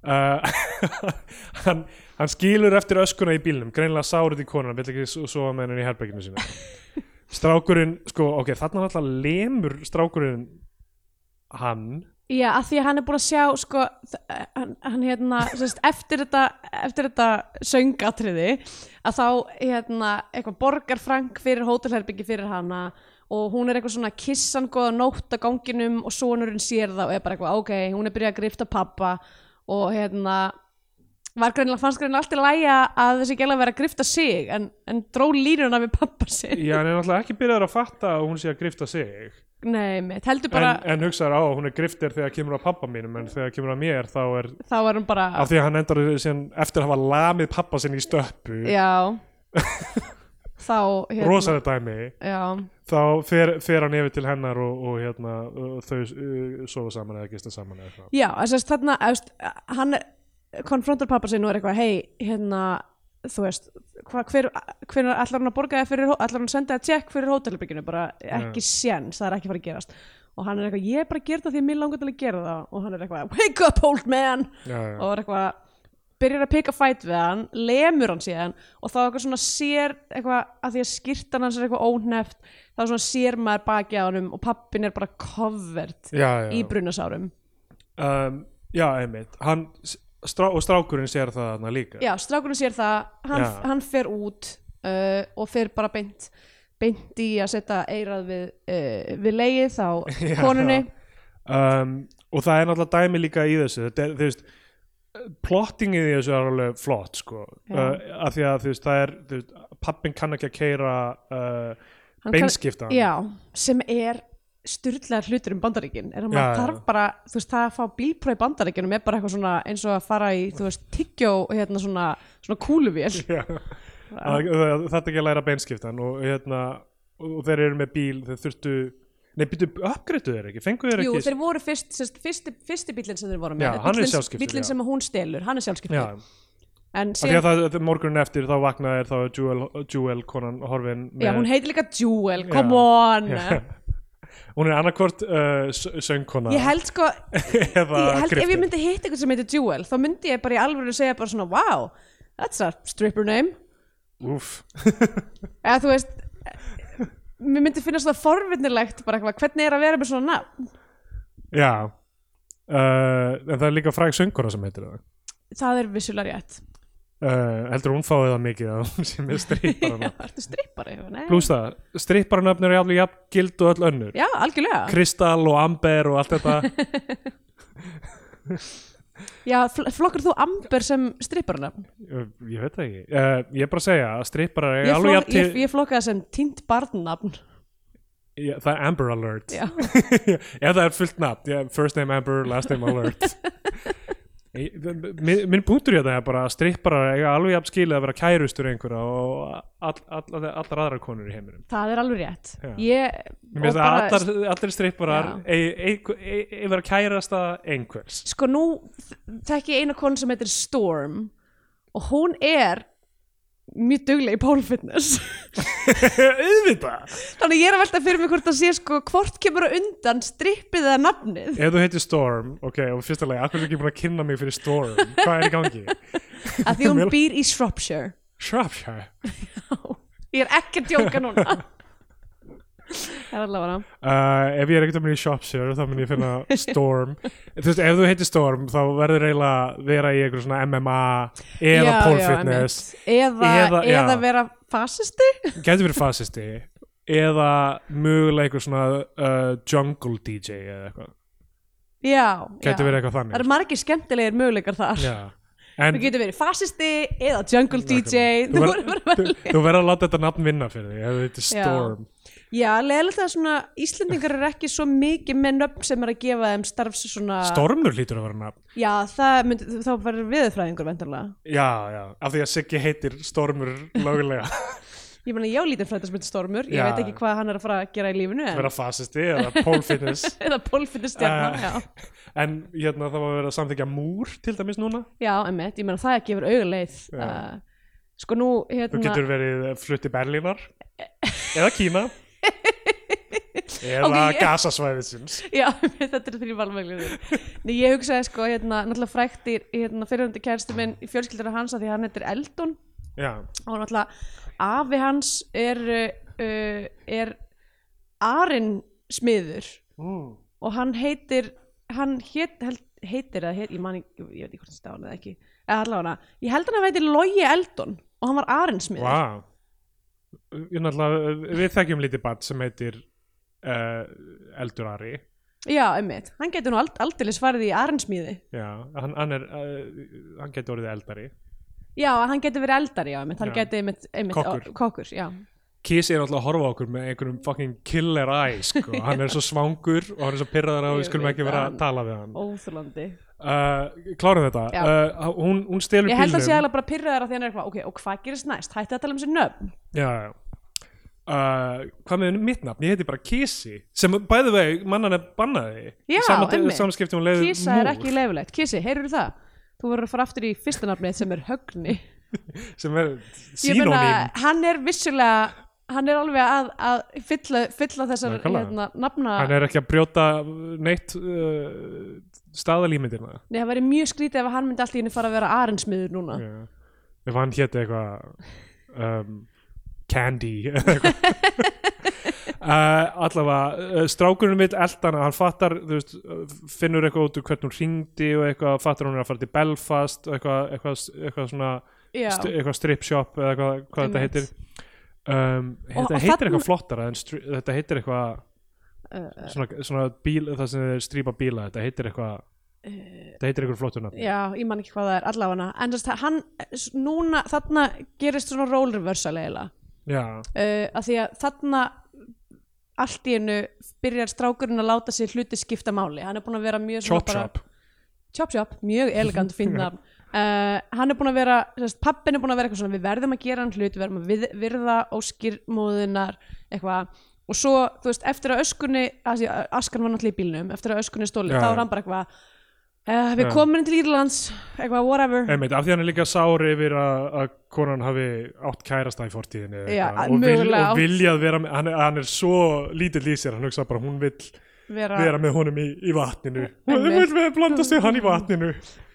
S2: uh, [laughs] hann, hann skilur eftir öskuna í bílnum greinlega sárið í konan, vill ekki so- sofa með henni í herberginu sínu strákurinn, sko, ok, þarna náttúrulega lemur strákurinn hann
S1: Já, að því að hann er búin að sjá sko, þ- eh, hann, hann hérna sérst, eftir þetta, eftir þetta söngatriði að þá hérna, eitthvað borgar Frank fyrir hótelherbyggi fyrir hana og hún er eitthvað svona kissan góða nótt á ganginum og sonurinn sér það og er bara eitthvað ok, hún er byrjað að grifta pappa og hérna var greinilega, fannst greinilega allt í lægja að þessi gæla vera að grifta sig en, en dró línuna við pappa sinn
S2: já, hann er náttúrulega ekki byrjaður að fatta að hún sé að grifta sig
S1: Nei, mitt, heldur bara,
S2: en, en hugsaður á, hún er griftir þegar kemur að pappa mínum en þegar kemur að mér þá er
S1: þá er hún bara
S2: af því að hann endar síðan, eftir að hafa lamið pappa sinni í stöppu [laughs]
S1: Já Þá hérna,
S2: rosalega dæmi
S1: Já,
S2: þá fer, fer hann yfir til hennar og, og hérna, og þau uh, sofa saman eða gista saman eða eitthvað
S1: já þess, þarna þess, hann konfrontar pappa sinn og er eitthvað hei, hérna þú veist, hva, hver, hver allar hann að borga þér fyrir, hó- ætlar hann að senda að tjekk fyrir hótelbygginu, bara ekki séns það er ekki að fara að gerast og hann er eitthvað, ég er bara að gera það því að mér langar til að gera það og hann er eitthvað, wake up old man
S2: já, já.
S1: og er eitthvað byrjar að pika fæt við hann, lemur hann síðan og þá eitthvað svona sér eitthvað að því að skýrtan hans er eitthvað óhneft þá svona sér maður baki á honum og pappin er bara covert
S2: já,
S1: í
S2: já.
S1: brunasárum
S2: Um, já einmitt hann, strá, og strákurinn sér það þarna líka
S1: já, strákurinn sér það, hann,
S2: Já.
S1: hann fer út uh, og fer bara beint beint í að setja eirað við, uh, við leið á
S2: [laughs] Já.
S1: konunni
S2: um, og það er náttúrulega dæmi líka í þessu þetta er, þú veist plottingið í þessu er alveg flott sko.
S1: Já.
S2: uh, af því að þú veist, það er þú veist, pappin kann ekki að keira uh,
S1: Hann kann-
S2: beinskipta
S1: já, sem er styrlaðar hlutur um bandaríkin er að
S2: Já,
S1: maður
S2: já.
S1: þarf bara, þú veist, það að fá bílpróf í bandaríkinum er bara eitthvað svona eins og að fara í, þú veist, tyggjó hérna svona, svona kúluvél
S2: Já. Það- það- þetta ekki að læra beinskiptan og hérna og þeir eru með bíl, þeir þurftu nei, byrju, uppgreitu þeir ekki, fengu þeir ekki
S1: Jú, þeir voru fyrst, sérst, fyrsti, fyrsti bílinn sem þeir voru með
S2: Já,
S1: er
S2: hann er
S1: bíllinn-
S2: sjálfskiptur,
S1: bíllinn
S2: já.
S1: sem hún stelur, hann er sjálfskiptur
S2: Já,
S1: en
S2: af því
S1: síðan,
S2: að það, það- morgunin eftir þá vaknaði þeir þá er Jewel, Jewel konan horfin með,
S1: já, hún heitir líka Jewel, come
S2: Já.
S1: on [laughs]
S2: hún er annarkvort uh, s- söngkona
S1: ég held sko,
S2: [laughs] eða
S1: ég held ef
S2: griftir.
S1: ég myndi hitta eitthvað sem heitir Jewel, þá myndi ég bara í alvöru segja bara svona, wow, that's a stripper name
S2: Úff.
S1: eða þú veist mér myndi finnast það forvinnilegt bara eitthvað, hvernig er að vera með svona nafn
S2: Já uh, en það er líka fræg söngkona sem heitir það
S1: það er vissulega rétt
S2: uh, heldur hún fáið það mikið að hún [laughs] sem er stripparana
S1: ertu strippari? eitthvað? Nei.
S2: pluss það, stripparanöfnir er jafnlega jafn gild og öll önnur
S1: já, algjörlega
S2: Kristal og Amber og allt
S1: [laughs]
S2: þetta
S1: já, fl flokkur þú Amber sem stripparnafn
S2: Ég- ég veit það ekki, uh, ég er bara að segja að stripparar er
S1: ég,
S2: alveg
S1: flok,
S2: jafn til
S1: ég, ég flokka það sem tínt barnnafn
S2: ég, það er Amber Alert
S1: Já.
S2: [laughs] ef það er fullt nafn, ég, first name Amber, last name
S1: [laughs]
S2: Alert Ég- minn minn punktur í þetta er bara að stripparar eiga alveg jafn skilið að vera kærustur einhverja og all, all, all, allar aðra konur í heiminum
S1: [laughs] það er alveg rétt
S2: Já.
S1: ég,
S2: Mér finnst
S1: og
S2: að
S1: bara-
S2: allar, allir stripparar eigi eigi- eigi- eigi vera kærasta einhvers [laughs]
S1: sko nú þ- þekki ég eina konu sem heitir Storm og hún er mjög dugleg í pole fitness [laughs]
S2: auðvitað
S1: þannig ég er að velta fyrir mig hvort það sé sko hvort kemur á undan strippið eða nafnið
S2: [laughs] ef þú heitir Storm, ok, og fyrsta lagi akkur er ekki búin að kynna mig fyrir Storm hvað er í gangi?
S1: að því hún
S2: Mér-
S1: býr í Shropshire
S2: Shropshire
S1: ég er ekki að djóka núna
S2: [laughs]
S1: það er allavega
S2: Uh, ef ég er ekkert að minna í Shropshire þá mun ég finna Storm þú veist, ef þú heitir Storm þá verður eiginlega að vera í einhver svona MMA eða
S1: Já,
S2: pole
S1: já,
S2: fitness
S1: einmitt. eða, eða,
S2: Eða- já.
S1: vera fasisti
S2: getur verið fasisti eða mögulega einhver svona uh, jungle DJ eða eitthvað
S1: já, já.
S2: getur verið eitthvað
S1: það
S2: þannig
S1: eru margir skemmtilegir möguleikar þar
S2: já. en
S1: þú getur verið fasisti eða jungle [laughs] DJ
S2: þú
S1: þú
S2: verður-
S1: verður verið vel
S2: þú- þú verður að láta þetta nafn vinna fyrir því ef þú heitir
S1: Já.
S2: Storm
S1: já, leðilegt að svona Íslendingar eru ekki svo mikið með nöfn sem er að gefa þeim starfs svona
S2: Stormur lítur að vera nafn
S1: já, það myndi, þá verður viðfræðingur vendarlega [laughs]
S2: já, já, af því að Siggi heitir Stormur lögulega
S1: ég meina ég á lítið fræta sem heitir Stormur ég
S2: Já.
S1: veit ekki hvað hann er að fara að gera í lífinu en...
S2: vera fasisti eða pole fitness
S1: [laughs] eða pólfinnistjarnan,
S2: Eh.
S1: já
S2: [laughs] en hérna það var verið að samþykja múr til dæmis núna,
S1: já, emmitt, ég meina það gefur auguleið
S2: Já.
S1: uh, sko nú,
S2: þú
S1: hérna
S2: getur verið eh, flutt í Berlínar eða Kína eða
S1: Ok,
S2: okay,
S1: ég-
S2: gasasvæðisins
S1: [laughs] Já, þetta er þrjú valmöglir
S2: [laughs]
S1: Nei, ég hugsaði sko, hérna, náttúrulega frækt í hérna, fyrirhundi kæristu minn í fjölskyldur hans að því að hann heitir Eldon
S2: já,
S1: og náttúrulega afi hans er uh, er Arin smiður
S2: mm.
S1: og hann heitir hann hét, held, heitir að heit, ég, man, ekki- ég veit ekki hvort það stána eða ekki eða allavega, ég held hann að veitir Logi Eldon og hann var Arin smiður
S2: wow ég náttúrulega, eh, við þekkjum lítið bat sem heitir uh, Eldur Ari
S1: Já, einmitt, hann getur nú ald, aldeilis farið í Arin smiði
S2: já, hann, hann er uh, hann getur orðið Eldari
S1: Já, hann getur verið eldari, já, einmitt, hann
S2: Já.
S1: getur einmitt, einmitt
S2: Kokkur.
S1: ó, kokkur já.
S2: Kiss er náttúrulega að horfa á okkur með einhverjum fucking killer eyes sko. hann er svo svangur og hann er svo pyrraðar að
S1: Ég
S2: við skulum
S1: veit
S2: ekki vera
S1: hann.
S2: að tala við hann
S1: Óþurlandi
S2: uh, klárum þetta
S1: Já.
S2: uh, hún, hún stelur
S1: Ég held að sé
S2: bílnum
S1: alveg bara pyrraðar að því hann er eitthvað Ok, og hvað gerist næst? Hætti að tala um sér nöfn
S2: já, já. Uh, hvað með mitt nafn, ég heiti bara Kissi sem bæði vegi mannan er bannaði
S1: Já, einmitt.
S2: samskiptum hún leiði
S1: Kísa er ekki leifilegt Kísi, heyrðu það? Þú verður að fara aftur í fyrsta nafnið sem er Högni
S2: sem er
S1: Ég meina,
S2: sínóným
S1: Hann er vissulega Hann er alveg að, að fylla, fylla þessar
S2: Nákvæmlega.
S1: hérna, nafna
S2: hann er ekki að brjóta neitt uh, staðalímyndirna
S1: Nei, það væri mjög skrítið ef hann myndi allt í henni fara að vera arensmiður núna
S2: Já. ef hann héti eitthvað um, Candy eða eitthvað.
S1: [laughs]
S2: uh, allavega, uh, strákurinn vill eldana, hann fattar þú veist, uh, finnur eitthvað út úr hvernig hún ringdi og eitthvað, fattar hún er að fara til Belfast og eitthvað, eitthvað, eitthvað svona
S1: Já,
S2: st eitthvað strip shop eða eitthvað, hvað þetta
S1: Einmitt.
S2: heitir um, þetta
S1: og
S2: heitir
S1: þarna-
S2: eitthvað flottara en stri- þetta heitir eitthvað
S1: uh,
S2: svona, svona bíl, það sem þeir strípa bíla þetta heitir eitthvað þetta heitir eitthvað flottur nafn
S1: uh, já, ég man ekki hvað það er allavega En þess að hann, s- núna, þarna gerist svona role reversal eiginlega
S2: já,
S1: uh, að því að þarna allt í einu byrjar strákurinn að láta sér hluti skipta máli hann er búin að vera mjög svona
S2: chop shop
S1: chop chop, mjög elegant
S2: [laughs]
S1: finna uh, hann er búin að vera, sérst, pappin er búin að vera eitthvað svona, við verðum að gera hann hlut við verðum að við, virða óskirmóðunar eitthvað, og svo, þú veist, eftir að öskunni, að því að askan var náttúrulega í bílnum eftir að öskunni er stólið,
S2: Já,
S1: þá
S2: já.
S1: er hann bara eitthvað uh, við
S2: Já.
S1: komum til Írlands eitthvað, whatever
S2: Einmitt, af því hann er líka sár yfir að, að konan hafi átt kærasta í fortíðinni eða
S1: Já,
S2: eitthvað, og, vil,
S1: mögulega átt.
S2: og viljað vera með hann, er- hann er svo lítill í sér hann hugsa bara hún vill
S1: vera,
S2: vera með honum í, í vatninu hún
S1: Einmitt.
S2: vill vera blandast við hann í vatninu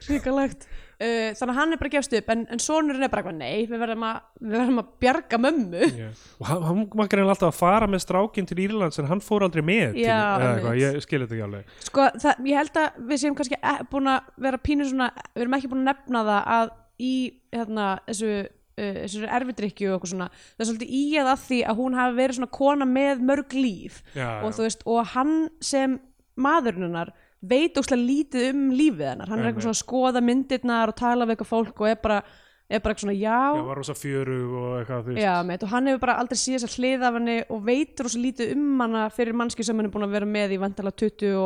S1: Ríkalegt. Uh, þannig að hann er bara að gefst upp en, en sonurinn er bara eitthvað nei, við verðum að, við verðum að bjarga mömmu
S2: og hann, hann makkar hann alltaf að fara með strákinn til Írlands en hann fór aldrei með til,
S1: Já,
S2: eða
S1: einmitt.
S2: eitthvað, ég skil þetta ekki alveg
S1: sko, það, ég held að við séum kannski e- búin að vera pínu svona við erum ekki búin að nefna það að í hérna, þessu, uh, þessu erfidrykju og eitthvað svona, það er svolítið í að að því að hún hafi verið svona kona með mörg líf
S2: já,
S1: og þú veist, og hann sem maðurinn hennar veit óslega lítið um lífið hennar, hann er
S2: Einmitt.
S1: eitthvað svona að skoða myndirnar og tala við eitthvað fólk og er bara, er bara eitthvað svona já,
S2: já, var rosa fjöru og eitthvað þú veist.
S1: Já, meitt, og hann hefur bara aldrei síðast að hlið af henni og veitur og svo lítið um hana fyrir mannski sem hann er búin að vera með í vantala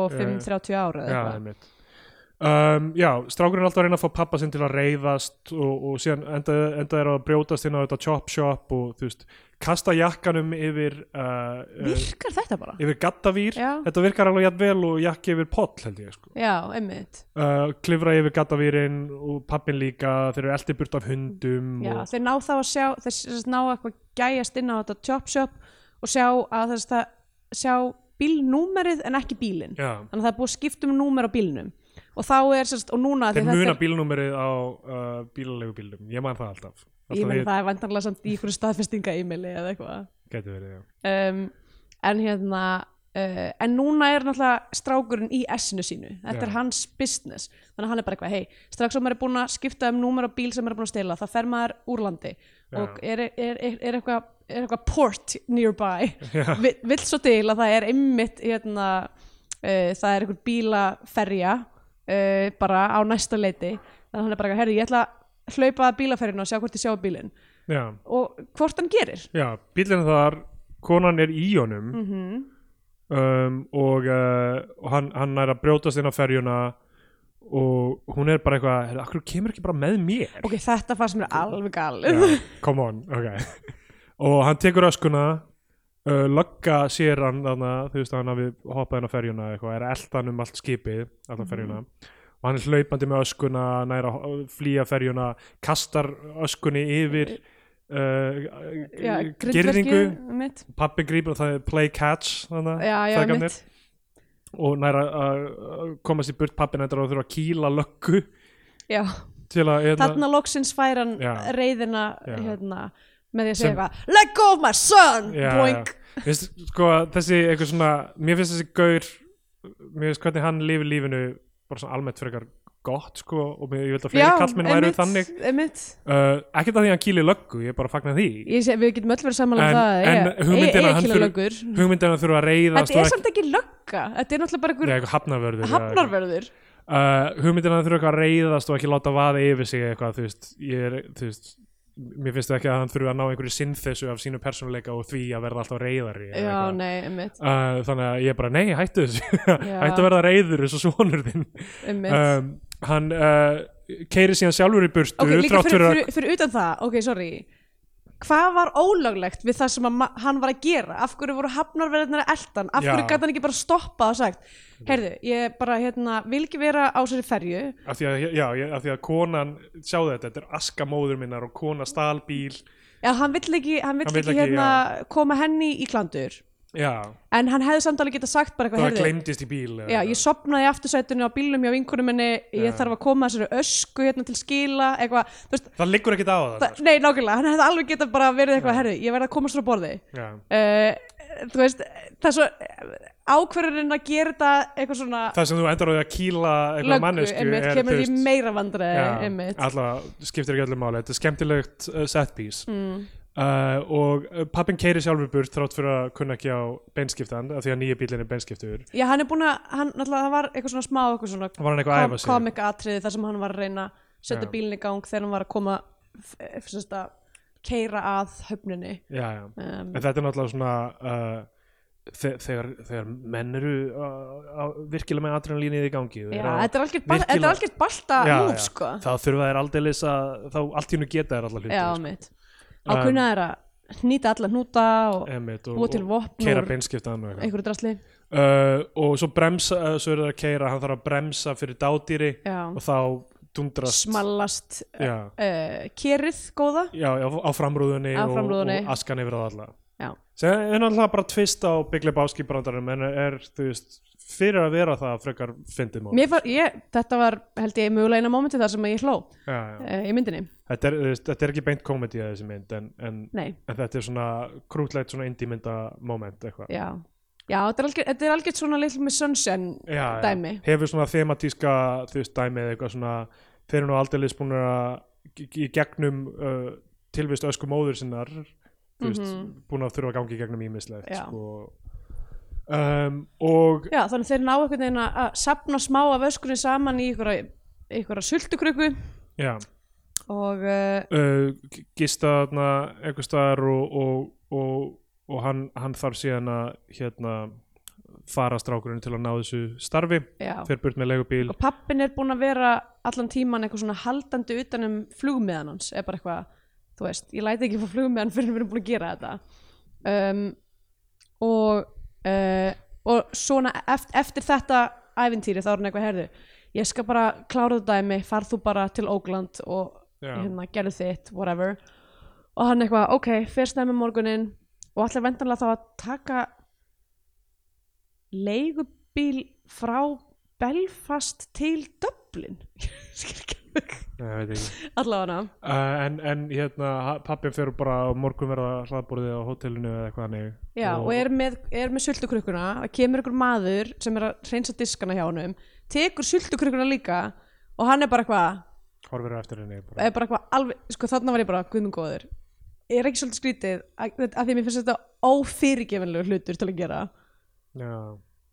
S1: 25-30 ára eða
S2: já,
S1: eitthvað.
S2: einmitt um, já, strákurinn er alltaf að reyna að fá pappa sinn til að reyðast og, og síðan enda, enda er að brjótast inn á þetta chop shop og þú veist, kasta jakkanum yfir uh, uh,
S1: Virkar þetta bara?
S2: yfir gattavír
S1: Já.
S2: þetta virkar alveg jafn vel og jakki yfir poll held ég sko
S1: Já, einmitt.
S2: uh, klifra yfir gattavírinn og pappin líka, þeir eru eldi burt af hundum
S1: Já,
S2: og,
S1: þeir ná þá að sjá, þeir sérst ná eitthvað gæjast inn á þetta chop shop og sjá að þess að sjá bílnúmerið en ekki bílinn.
S2: já.
S1: Þannig að það er búið að skipta um númer á bílnum. Og þá er sérst, og núna af því
S2: þeir
S1: þetta
S2: muna
S1: er-
S2: bílnúmerið á uh, bílalegu bílnum, ég man það alltaf alltaf
S1: Ég meni
S2: því
S1: það er vantanlega samt í einhverju staðfestinga e-maili eða eitthvað.
S2: gæti verið, já
S1: um, en hérna uh, en núna er náttúrulega strákurinn í S-inu sínu, þetta
S2: Já.
S1: er hans business þannig að hann er bara eitthvað, hei, strax sem maður er búin að skipta um númer á bíl sem maður er búin að stela það fer maður úr landi og er, er, er, er, eitthvað, er eitthvað port nearby, Vi- [laughs] vill svo til að það er einmitt hérna, uh, það er einhver bílaferja uh, bara á næsta leiti þannig að hann er bara, herri, ég ætla að hlaupa að bílaferjun og sjá hvort ég sjá bílinn
S2: já,
S1: og hvort hann gerir
S2: Já, bílinn er þar, konan er í honum
S1: Mhm.
S2: um, og, uh, og hann, hann er að brjótast inn á ferjuna og hún er bara eitthvað, "Heyrðu, af hverju kemur ekki bara með mér?
S1: [laughs] ok, þetta fannst mér alveg galið
S2: Já, come on, ok. og hann tekur öskuna uh, lögga sér hann þarna, þú veist að hann hafi hoppað inn á ferjuna eða eitthvað, er eldan um allt skipið
S1: Mhm.
S2: allan ferjuna og hann er hlaupandi með öskuna næra að flýja ferjuna kastar öskunni yfir
S1: já,
S2: uh, girðingu
S1: grindverkið mitt
S2: pappi grípur og það er play catch þarna,
S1: já, já,
S2: feðgarnir.
S1: mitt
S2: og næra að að komast í burt pappin endur og þurfa að kýla löggu
S1: já.
S2: til að hérna,
S1: þarna loksins fær hann
S2: Já.
S1: reyðina
S2: Já.
S1: hérna, með því að segja
S2: Sem-
S1: eitthvað let go of my son
S2: Já,
S1: boink
S2: já. Veist, sko, þessi eitthvað svona mér finnst þessi gaur mér finnst hvernig hann lifi lífinu bara svona almennt frekar gott sko, og mér, ég veit að fleiri kallmenn væru
S1: einmitt,
S2: þannig
S1: einmitt.
S2: uh, ekkert að því að hann kýli löggu, ég er bara að fagna því
S1: Ég Sé, við getum öll verið samanlega
S2: En-
S1: um það
S2: en
S1: ég-
S2: hugmyndin
S1: ég-
S2: að
S1: ég
S2: hann
S1: kýla
S2: fyrir-
S1: löggur.
S2: hugmyndin að þurfa að reyðast
S1: þetta
S2: og
S1: er samt ekki lögga þetta er náttúrulega bara
S2: Nei,
S1: einhver
S2: eitthvað hafnarvörður eða eitthvað.
S1: hafnarverður
S2: uh, hugmyndin að hann þurfa eitthvað að reyðast og ekki láta vaða yfir sig eitthvað þú veist, ég er, þú veist mér finnst ekki að hann þurfa að ná einhverju sinnþessu af sínu persónuleika og því að verða alltaf reyðari eða
S1: já,
S2: eitthvað.
S1: nei, einmitt,
S2: Uh, þannig að ég er bara, nei, hættu þessu [laughs]
S1: Já.
S2: hættu að verða reyður eins og svonur þinn
S1: einmitt.
S2: um, hann uh, keiri síðan sjálfur í burtu
S1: ok, líka
S2: þrátt
S1: fyrir,
S2: fyrir að
S1: fyrir, fyrir utan það ok, sorry hvað var ólöglegt við það sem að ma- hann var að gera af hverju voru hafnarverðinari eldan af
S2: Já.
S1: hverju gæti hann ekki bara stoppað og sagt heyrðu, ég bara, hérna, vil ekki vera á sér ferju
S2: af því að, já, ég- af því að konan sjáðu þetta, þetta er aska móður minnar og kona stal bíl
S1: eða hann vill ekki, hann vill
S2: Hann vill
S1: ekki,
S2: ekki,
S1: hérna, koma henni í klandur
S2: já,
S1: en hann hefði samt alveg geta sagt bara
S2: það
S1: eitthvað, heyrðu
S2: gleymdist í bíl eða
S1: Já,
S2: eitthvað.
S1: ég sopnaði í aftursætunni á bílnum hjá vinkunum minni, ég
S2: Já.
S1: þarf að koma þessari ösku hérna til skila, eitthvað, þú veist,
S2: það liggur ekkit á það, sko.
S1: það, nei, nákvæmlega, hann hefði alveg geta bara verið eitthvað,
S2: Já.
S1: herðu, ég verði að komast frá borði.
S2: Já.
S1: uh, þú veist það er svo ákverðurinn að gera þetta eitthvað svona
S2: það sem þú endur á því að kýla eitthvað mannesku
S1: einmitt,
S2: er,
S1: kemur
S2: þú
S1: því
S2: veist,
S1: meira vandræði einmitt
S2: alltaf skiptir ekki öllu máli þetta er skemmtilegt uh, set piece
S1: mm.
S2: Uh, og pappin keiri sjálfur burt þrátt fyrir að kunna ekki á beinskiptan af því að nýja bílinn er beinskiptur
S1: já, hann er búin að, hann, náttúrulega, það var eitthvað svona smá eitthvað svona
S2: var hann eitthvað að
S1: kom,
S2: æfa sig
S1: komik atriði þar sem hann var að reyna að setja
S2: Já.
S1: bílinn í gang þegar hann var að koma f- f- sem sagt að keira að höfninni
S2: já, já.
S1: um,
S2: en þetta er náttúrulega svona uh, þe þegar, þegar menn eru uh, á- virkilega með adrenalínið í gangi þeir
S1: já,
S2: eru að-
S1: þetta er algjört bal- þetta er
S2: virkilega-
S1: algjört balta
S2: Já,
S1: múf
S2: já.
S1: sko
S2: þá þurfa þær aldeilis að þá allt í hennu geta þær alla hluti
S1: já,
S2: sko.
S1: mitt ákveðna er að hnýta alla hnúta og
S2: Einmitt,
S1: búa til
S2: og, og
S1: vopn
S2: keira
S1: úr
S2: beinskiptan og, eitthvað.
S1: einhverju drasli
S2: uh, og svo bremsa uh, svo eru það að keira, hann þarf að bremsa fyrir dádýri
S1: já,
S2: og þá dundrast
S1: smallast
S2: já,
S1: uh, kerið góða
S2: já, já, á framrúðunni,
S1: Á framrúðunni.
S2: Og, og askan yfir það alla
S1: Já.
S2: sem er náttúrulega bara tvist á Big Lebowski brandarum en er, þú veist, fyrir að vera það frekar fyndið mál
S1: Mér far, ég, þetta var held ég mögulega eina momenti þar sem ég hló uh,
S2: já, já.
S1: í myndinni,
S2: Þetta, er, þú veist, þetta er ekki beint komedi að þessi mynd en, en,
S1: nei,
S2: en þetta er svona krútlegt svona indie mynda moment eitthvað
S1: já já, þetta er algjört, þetta er algjört svona litl með sunshine
S2: já, já.
S1: dæmi,
S2: hefur svona thematíska þú veist dæmið eitthvað svona þeir eru nú aldeilis búin að í- í gegnum uh, tilvist ösku móður sinnar þú veist,
S1: Mhm.
S2: búin að þurfa að gangi í gegnum ímislegt
S1: Já.
S2: sko. um, og
S1: já, þannig þeir ná einhvern veginn að- að sapna smá af öskunni saman í ykkur ykkur sultukrukku
S2: já,
S1: og uh,
S2: uh, g- gista þarna einhvers staðar og, og, og, og hann, hann þarf síðan að hérna fara strákurinn til að ná þessu starfi
S1: já,
S2: fer burt með legubíl
S1: og pappin er búinn að vera allan tíman eitthvað svona haldandi utan um flugmiðan hans, eða bara eitthvað þú veist, ég læti ekki frá flugmiðan fyrir við erum búin að gera þetta um, og uh, og svona eftir, eftir þetta ævintýri þá er hann eitthvað herðu ég skal bara klára þetta dæmi, farð þú bara til Ógland og
S2: Já.
S1: hérna, gerðu þitt, whatever og hann eitthvað, ok, fyrst nefnum morgunin og allir vendanlega þá að taka leigubíl frá Belfast til Dublin [laughs] skil ekki alveg.
S2: Nei, ég veit ekki.
S1: allavega
S2: uh, en, en hérna pappin fer bara á morgun verða hlaðborðið á hótelinu eða eitthvað hannig
S1: Já, og er með, er með sultukrukkuna það kemur einhver maður sem er að reynsa diskana hjá honum tekur sultukrukkuna líka og hann er bara eitthvað
S2: horfir á eftir henni bara.
S1: er bara eitthvað alveg, sko þarna var ég bara guðmund góður, ég er ekki svolítið skrítið að, að því að mér finnst þetta ófyrirgefinlegu hlutur til að gera
S2: Já.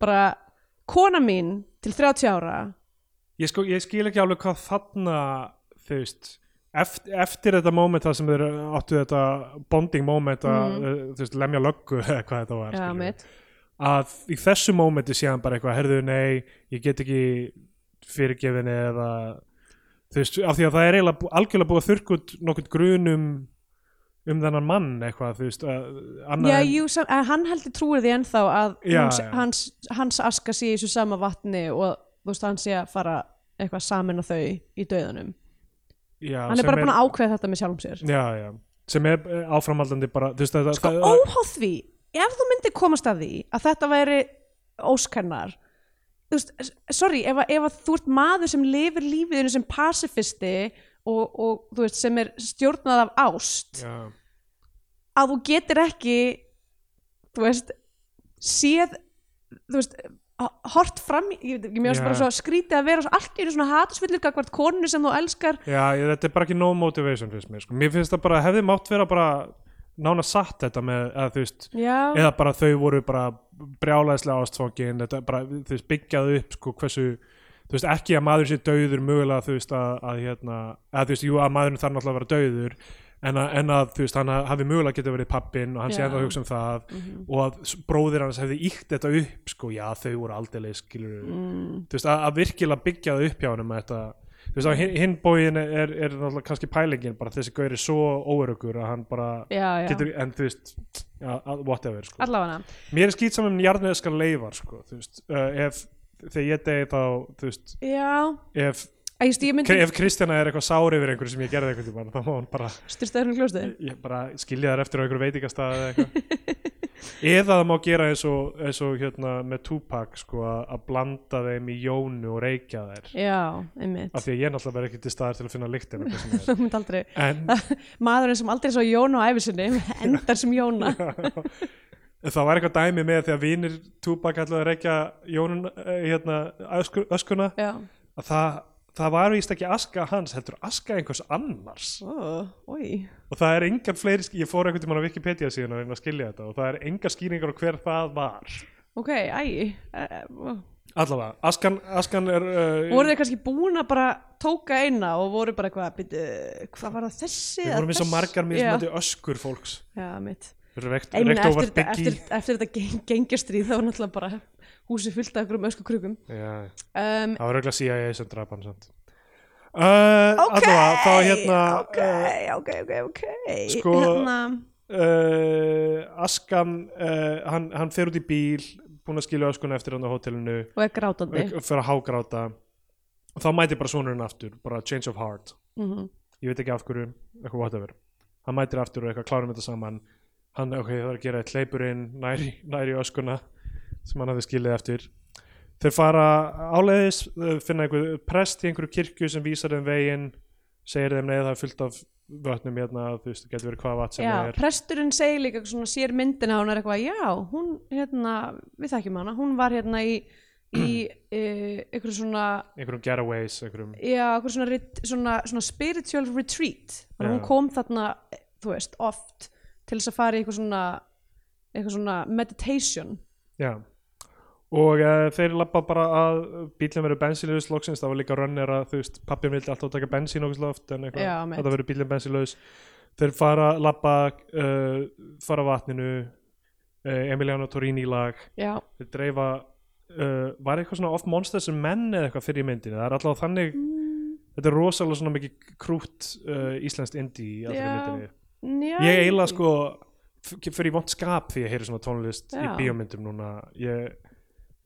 S1: bara kona mín til 30 ára
S2: ég, sko, ég skil ekki alveg hvað þarna þú veist Eftir, eftir þetta moment það sem þeir áttu þetta bonding moment að
S1: Mhm.
S2: mm. þú veist lemja löggu [laughs] eða hvað þetta
S1: Já,
S2: var skilurðu.
S1: mitt.
S2: að í þessu mómenti sé hann bara eitthvað herðu nei, ég get ekki fyrirgefinni eða þú veist, af því að það er eiginlega bú, algjörlega búið að þurrka út nokkurn grunum um þennan mann eitthvað þú veist að, annað
S1: Já,
S2: en-
S1: jú, sam, en hann heldur trúið því ennþá að
S2: Já,
S1: hún,
S2: já.
S1: Hans, hans aska sé í þessu sama vatni og þú veist, hann sé að fara eitthvað samin á þau í dauðanum
S2: já,
S1: hann er
S2: sem
S1: bara búin að ákveða þetta með sjálfum sér
S2: já, já, sem er eh, áframhaldandi bara, þú veist, það,
S1: sko, óháð því, ef þú myndir komast að því að þetta væri óskarnar þú veist, s- sorry ef, að- ef að þú ert maður sem lifir lífiðinu sem pasifisti og, og þú veist, sem er stjórnað af ást
S2: já,
S1: að þú getir ekki þú veist séð þú veist h- hort fram, í- ég veit ekki, mér
S2: Já.
S1: finnst bara svo skrítið að vera svo allt í einu svona hatusvillur gagvart konunni sem þú elskar
S2: já, ég, þetta er bara ekki no motivation finnst mér, sko, mér finnst það bara hefði mátt vera bara nána satt þetta með að þú veist,
S1: já,
S2: eða bara þau voru bara brjálæðislega ástfókin þetta er bara, þú veist, byggjaðu upp sko hversu, þú veist, ekki að maður sé dauður mögulega, þú veist, að, að hérna að þú veist, jú, að maðurinn þarf náttúrulega að vera dauður en að, en að þú veist, hann hafi mögulega getið verið pappin og hann sé
S1: Já. Mhm.
S2: ennþá að hugsa um það og að s- bróðir hans hefði íkt þetta upp, sko, já, þau voru aldeileg skilur,
S1: Mm.
S2: þú veist, að, að virkilega byggja það upp hjá hann um þetta þú veist, á hin, hinn bógin er, er, er náttúrulega kannski pælingin, bara þessi gaur er svo óörugur að hann bara
S1: já, já,
S2: getur, en þú veist ja, að- whatever sko.
S1: allavega
S2: mér er skýt saman um jarðneskar leifar sko, þú veist, uh, ef þegar ég degi þá, þú veist
S1: já,
S2: ef,
S1: Æ, ég, veist, ég myndi
S2: ef Kristjana er eitthvað sár yfir einhverju sem ég gerði einhvern tímann, þá má hún bara,
S1: styrstaður hún kljóstu
S2: ég bara skilja þær eftir á einhverju veitingastað eða eitthvað
S1: [laughs]
S2: eða það má gera eins og, eins og hérna, með Tupac sko, að að blanda þeim í jónu og reykja þær
S1: já, einmitt
S2: af því að ég náttúrulega verð ekki til staðar til að finna lyktin
S1: [laughs]
S2: eða eitthvað sem
S1: þú myndi aldrei
S2: er. en
S1: maðurinn sem aldrei svo Jón á æfisinni
S2: [laughs]
S1: endar sem Jóna
S2: það var eitthvað dæmi með þegar vinir Tupac ætlaði að rekja Jónun eh, hérna, ösku, öskuna
S1: já,
S2: að það, það var víst ekki aska hans heldur aska einhvers annars
S1: ó, oi
S2: og það er engan fleiri, sk- ég fór einhvern tímann á Wikipedia síðan að reyna að skilja þetta og það er engar skýringar á hver það var
S1: ok, æ, eh, ó.
S2: allavega, askan, askan er uh,
S1: voru þeir kannski búin að bara tóka eina og voru bara eitthvað byrju, hvað var það þessi
S2: við
S1: eða
S2: vorum eins og
S1: þess-
S2: margar mér
S1: já,
S2: sem þetta öskur fólks
S1: já, mitt
S2: rekt,
S1: Ei, meina,
S2: rekt
S1: eftir,
S2: over
S1: þetta- eftir,
S2: Biggie
S1: eftir þetta geng, gengjastríð þá var náttúrulega bara húsi fullt af okkur um ösku krukum
S2: Já,
S1: um,
S2: það var auðvitað CIA sem draf hann samt Uh,
S1: ok,
S2: allavega, þá hérna
S1: ok, ok, ok, ok
S2: sko-
S1: hérna,
S2: uh, Askan uh, hann, hann fer út í bíl búin að skilja öskuna eftir hann á hótelinu
S1: og er grátandi
S2: og fer að hágráta og þá mætir bara sonurinn aftur bara change of heart
S1: mm
S2: ég veit ekki af hverju, eitthvað whatever hann mætir aftur og eitthvað klárum þetta saman hann, ok, það er að gera eitt hleypurinn næri, næri öskuna sem hann hafði skilið eftir þeir fara áleiðis eh, finna einhver prest í einhverju kirkju sem vísar þeim veginn segir þeim neða það er fullt af vötnum hérna, þú veist, það getur verið hvað vatn sem
S1: já,
S2: er
S1: presturinn segir líka eitthvað svona sér myndina og hún er eitthvað, já, hún hérna, við þekkjum hana, hún var hérna í
S2: [clears throat]
S1: í uh, einhverju svona
S2: einhverjum getaways, einhverjum
S1: já, einhverju svona, rit, svona, svona spiritual retreat þannig að
S2: Já.
S1: hún kom þarna, eh, þú veist, oft til þess að fara í eitthvað svona eitthvað svona meditation
S2: Já og uh, þeir lappa bara að bílum verður bensinlaus loksins, það var líka rönnir að þú veist, pappin vildi alltaf taka bensín okkur loft en
S1: Já,
S2: eitthvað,
S1: mitt.
S2: þetta verður bílum bensinlaus þeir fara, lappa uh, fara að vatninu uh, Emiliano Torini lag
S1: já,
S2: þeir dreifa uh, var eitthvað svona off monsters and men eða eitthvað fyrir í myndinu, það er alltaf þannig
S1: Mm,
S2: þetta er rosalega svona mikið krútt uh, íslenskt indie í allri
S1: Já.
S2: myndinni
S1: já
S2: ég eiginlega sko f- fyrir í vont skap því ég heyri svona tónlist í
S1: Já.
S2: bíómyndum núna ég,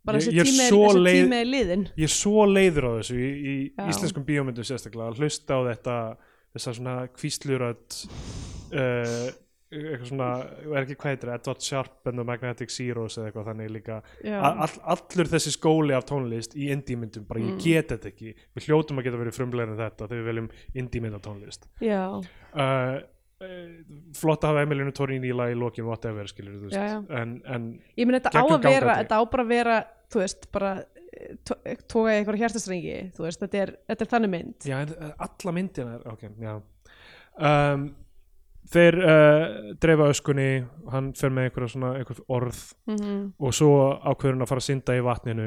S1: bara
S2: ég,
S1: þessi
S2: ég, er
S1: tími,
S2: svo
S1: þessi
S2: leið,
S1: tími er liðin
S2: ég er svo leiður á þessu í, í
S1: Já.
S2: íslenskum bíómyndum sérstaklega að hlusta á þetta þessar svona kvíslurödd uh, eitthvað svona er ekki hvað heitir, það, Edward Sharp and the Magnetic Zeros eða eitthvað þannig líka
S1: Já.
S2: A- all, allur þessi skóli af tónlist í indímyndum, bara
S1: Mm.
S2: ég get þetta ekki við hljótum að geta verið frumlegri en þetta þegar við veljum indímynd á tónlist
S1: já,
S2: uh, flott að hafa Emilinu Torini í lag í lokin whatever skilur þú veist
S1: Já, já.
S2: en, en
S1: ég meina þetta á
S2: Gegnum
S1: að vera
S2: gangandi.
S1: þetta á bara að vera, þú veist, bara eh, to- toga í einhverja hjartastrengi þú veist, þetta er, þetta er þannig mynd
S2: já, en, eh, alla myndina er ok, já um, þeir uh, dreifa öskunni hann fer með einhverja svona einhver orð
S1: mm -hmm.
S2: og svo ákveður hann að fara að synda í vatninu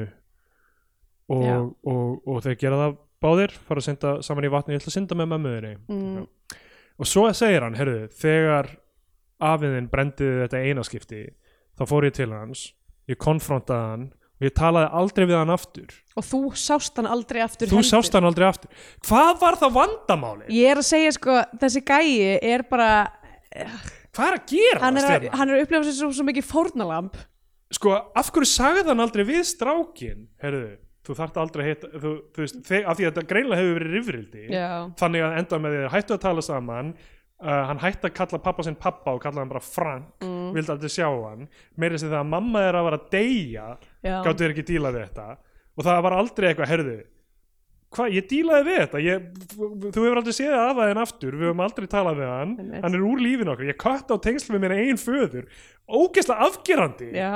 S2: og,
S1: Já.
S2: og, og, þeir gera það báðir fara að synda saman í vatninu, ég ætla að synda með mömmuðinni
S1: Mm.
S2: og svo segir hann, heyrðu, þegar afiðin brendiði þetta einaskipti þá fór ég til hans ég konfrontaði hann og ég talaði aldrei við hann aftur
S1: og þú sást hann aldrei aftur
S2: þú sást hann aldrei aftur hvað var það vandamáli?
S1: ég er að segja sko, þessi gæi er bara
S2: hvað er að gera
S1: hann er, að,
S2: Stjarnan?
S1: hann er að upplifa sér svo, svo mikið fórnalamb
S2: sko, af hverju sagði hann aldrei við strákin herðu, þú þarft aldrei að heita þú, þú veist, þeg, af því að þetta greinlega hefur verið rifrildi
S1: Já.
S2: þannig að enda með því að hættu að tala saman uh, hann hætti að kalla pappa sinn pappa og kalla hann bara Frank mm. vildi aldrei sjá hann meira sem það að mamma þeirra var að deyja
S1: Já.
S2: gáttu þeir ekki díla við þetta og það var aldrei eitthvað, herðu hvað, ég dílaði við þetta ég, þú hefur aldrei séð af aðeins aftur við höfum aldrei talað við hann,
S1: Einmitt.
S2: hann er úr lífin okkur ég kött á tengslu við minna einn föður ógeðslega afgerandi
S1: Já,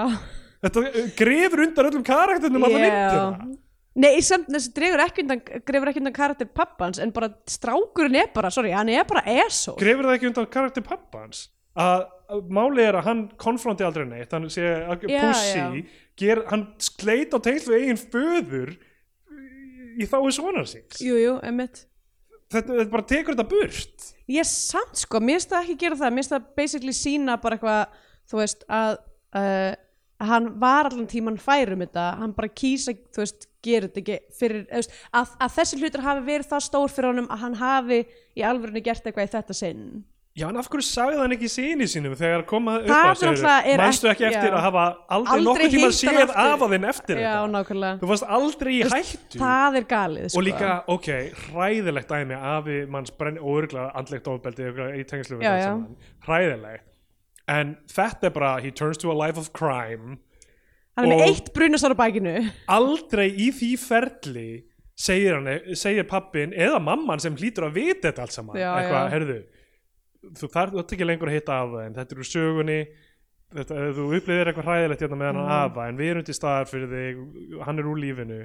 S2: þetta uh, grefur undan öllum karakternum alltaf myndina
S1: Nei, samt þessi dregur ekki undan grefur ekki undan karakter pappans en bara strákurinn er bara, sorry, hann er bara esó
S2: grefur það ekki undan karakter pappans að að málið er að hann konfronti aldrei neitt, hann sé að
S1: Já,
S2: pussi ger, hann skleit á tengsl við eigin föður í þáu svonar síns
S1: Jú, jú, emmitt
S2: þetta, þetta bara tekur þetta burt
S1: Ég samt sko, mér finnst það ekki gera það mér finnst það basically sína bara eitthvað þú veist, að uh, hann var allan tíman færum þetta hann bara kýsa, þú veist, gera þetta ekki fyrir, þú veist, að, að þessi hlutur hafi verið það stór fyrir honum að hann hafi í alvörinu gert eitthvað í þetta sinn
S2: já en af hverju sagði hann ekki síni sínum þegar koma
S1: Það
S2: upp á
S1: er náttúrulega- er
S2: manstu
S1: ekki-
S2: ekki eftir
S1: já.
S2: að hafa aldrei,
S1: Aldrei
S2: nokkuð
S1: hitt
S2: tíma
S1: hann
S2: séð
S1: aftur.
S2: af að þinn eftir
S1: Já,
S2: þetta
S1: nákvæmlega
S2: þú varst aldrei í hættu
S1: Það er galið, sko
S2: og líka, ok, hræðilegt dæmi afi manns brenn og örgulega andlegt ofbeldi örugglega í tengslu við
S1: Já,
S2: það
S1: já.
S2: saman. hræðilegt en þetta er bara, he turns to a life of crime
S1: Hann er með
S2: og-
S1: eitt brunasár á bækinu
S2: aldrei í því ferli segir, hann, segir pappin eða mamman sem hlýtur að vita þetta allt saman
S1: Já,
S2: eitthvað,
S1: já.
S2: herðu þú þarf þú ert ekki lengur að hitta afa en þetta eru sögunni þetta, eh, þú upplifir eitthvað hræðilegt hérna með hann mm. afa en við erum til staðar fyrir þig hann er úr lífinu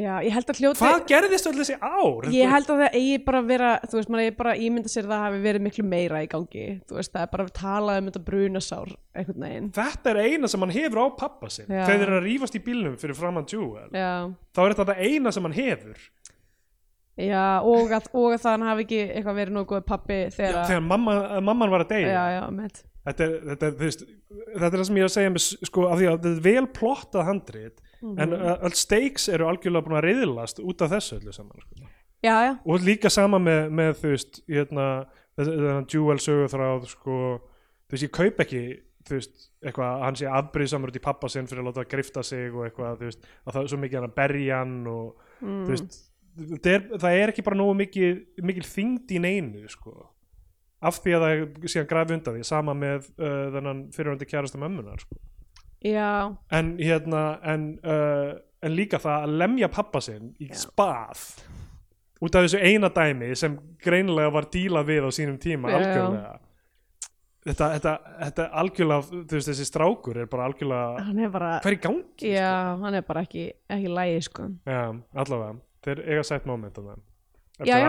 S1: Já, ég held að hljóti
S2: hvað gerðist öll þessi ár?
S1: Ég held að það eigi bara að vera Þú veist, maður eigi bara að ímynda sér að það hafi verið miklu meira í gangi Þú veist, það er bara að tala um þetta brunasár einhvern veginn
S2: þetta er eina sem hann hefur á pappa sinn
S1: Já.
S2: þegar þeir eru að rífast í bílnum fyrir framann Jewel
S1: Já,
S2: þá er þetta það eina sem hann hefur
S1: já og, að, og að það hafi ekki eitthvað verið nógu góð pappi þegar að
S2: þegar mamma, að mamman var að
S1: Já,
S2: deyja
S1: já, mitt
S2: þetta, er- þetta, er, þú veist, þetta er það sem ég er að segja með, s- sko, af því að þetta er vel plottað handrit
S1: Mhm.
S2: en uh, öll stakes eru algjörlega búin að riðlast út af þessu öllu saman sko.
S1: Já, já,
S2: og líka sama með, með þú veist hérna, þennan Jewel sögurþráð sko, þú veist ég kaup ekki þú veist, eitthvað, að hann sé afbrýðsamur út í pappa sinn fyrir að láta að grifta sig og eitthvað, þú veist, að það er svo mikið hann að berja hann og, þú veist það er, það er ekki bara nógu mikið, mikil þyngd í neinu, sko af því að það síðan grafi undan því sama með uh, þennan fyrirvændi kjærasta mömmunar, sko
S1: já,
S2: en hérna en, uh, en líka það að lemja pappa sinn í spað út af þessu eina dæmi sem greinilega var dílað við á sínum tíma
S1: Já.
S2: algjörlega þetta, þetta, þetta algjörlega þú veist þessi strákur er bara algjörlega
S1: hann er bara
S2: hver í gangi sko?
S1: Já, hann er bara ekki, ekki lægi, sko
S2: Já, allavega, þeir eiga sætt moment á það
S1: Já, já.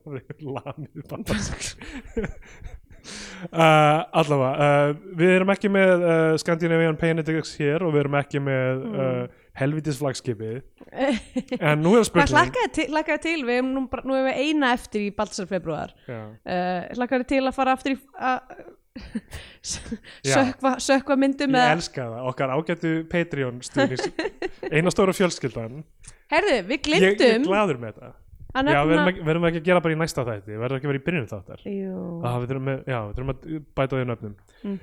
S2: [laughs] lamið pappa sinn. Uh, allavega, uh, við erum ekki með uh, Scandinavian Painetix hér og við erum ekki með
S1: Hmm.
S2: uh, helvitis
S1: [laughs]
S2: flagskipið en nú er
S1: Það
S2: spurning
S1: hlakkaði til, hlakkaði til, við erum nú, bara- nú erum við eina eftir í Balsar februar
S2: Já.
S1: uh, hlakkaði til að fara aftur í að
S2: Já.
S1: sökva, sökva myndum
S2: ég
S1: eða,
S2: elska það, okkar ágættu Patreon stuðnings
S1: [laughs]
S2: eina stóra fjölskyldan
S1: herðu, við
S2: ég, ég er
S1: glimtum
S2: gladur með þetta
S1: að
S2: Já, verðum
S1: nefna
S2: ekki, verðum ekki að gera bara í næsta þætti verðum ekki að vera í byrjunum þáttar
S1: Jú.
S2: ah, við þurfum, með, já, við þurfum að bæta því nöfnum
S1: Mm.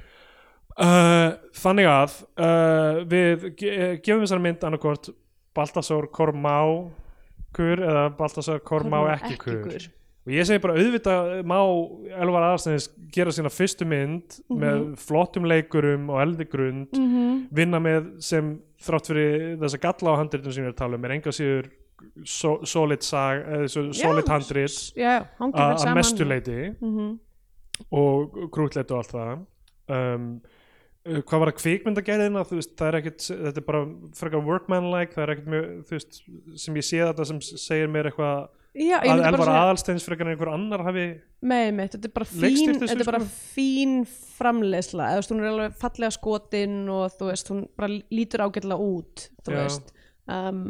S2: uh, Þannig að uh, við ge gefum þessar mynd annarkort Baltasar Kormá kur eða Baltasar Kormá
S1: Kormá
S2: ekki
S1: ekki
S2: kur
S1: kur.
S2: og ég segi bara auðvitað má Elvar Aðarsnes gera sína fyrstu mynd með flottum leikurum og eldi grund
S1: Mhm.
S2: vinna með sem þrátt fyrir þessa galla á handritum sem ég er að tala um er enga síður so, solid, sag, eh, so,
S1: Já,
S2: solid handrit
S1: já, hangið
S2: að
S1: það
S2: að
S1: saman
S2: mestu leiti
S1: Mhm.
S2: og krútleit og allt það um, uh, hvað var að kvikmyndagerðina þú veist, það er ekkit, þetta er bara frekar workmanlike, það er ekkit mjög þú veist, sem ég sé þetta sem segir mér eitthvað
S1: já, ég
S2: að
S1: myndi bara
S2: Elvar
S1: segja
S2: Aðalsteins frekar en einhver annar hafi
S1: með mitt, þetta er bara
S2: Leikstýrt
S1: fín,
S2: þessu,
S1: þetta er bara
S2: sko.
S1: fín framleiðsla, eða þú veist, hún er alveg fallega skotin og þú veist, hún bara lítur ágætlega út, þú
S2: Já.
S1: veist um,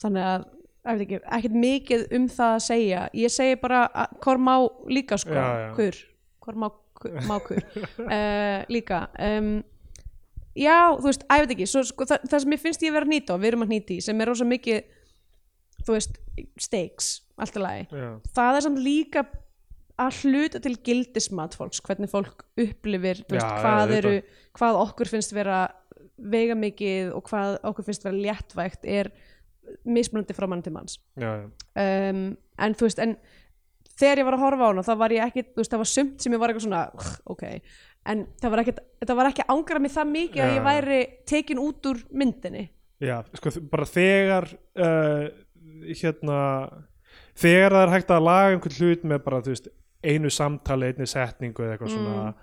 S1: þannig að ég veit ekki, ekkert mikið um það að segja ég segi bara að Kormá líka sko,
S2: Já, já.
S1: kur Kormá kur- mákur
S2: [laughs]
S1: uh, líka um, já, þú veist, að ég veit ekki svo, sko, það, það sem ég finnst ég vera að nýta og við erum að nýta í sem er rosa mikið, þú veist, steiks allt í lagi
S2: já,
S1: það er samt líka að hluta til gildismat fólks hvernig fólk upplifir þú veist,
S2: Já,
S1: hvað,
S2: já,
S1: eru, hvað okkur finnst vera veiga mikið og hvað okkur finnst vera léttvægt er mismunandi frá mann til manns
S2: já, já.
S1: um, en þú veist en þegar ég var að horfa á hana þá var ég ekki þú veist, það var sumt sem ég var eitthvað svona "Ugh, ok, en það var ekki það var ekki að angra mig það mikið að
S2: Já.
S1: ég væri tekin út úr myndinni
S2: Já, sko, þ- bara þegar uh, hérna þegar það er hægt að laga einhvern hlut með bara, þú veist, einu samtali einni setningu eða eitthvað svona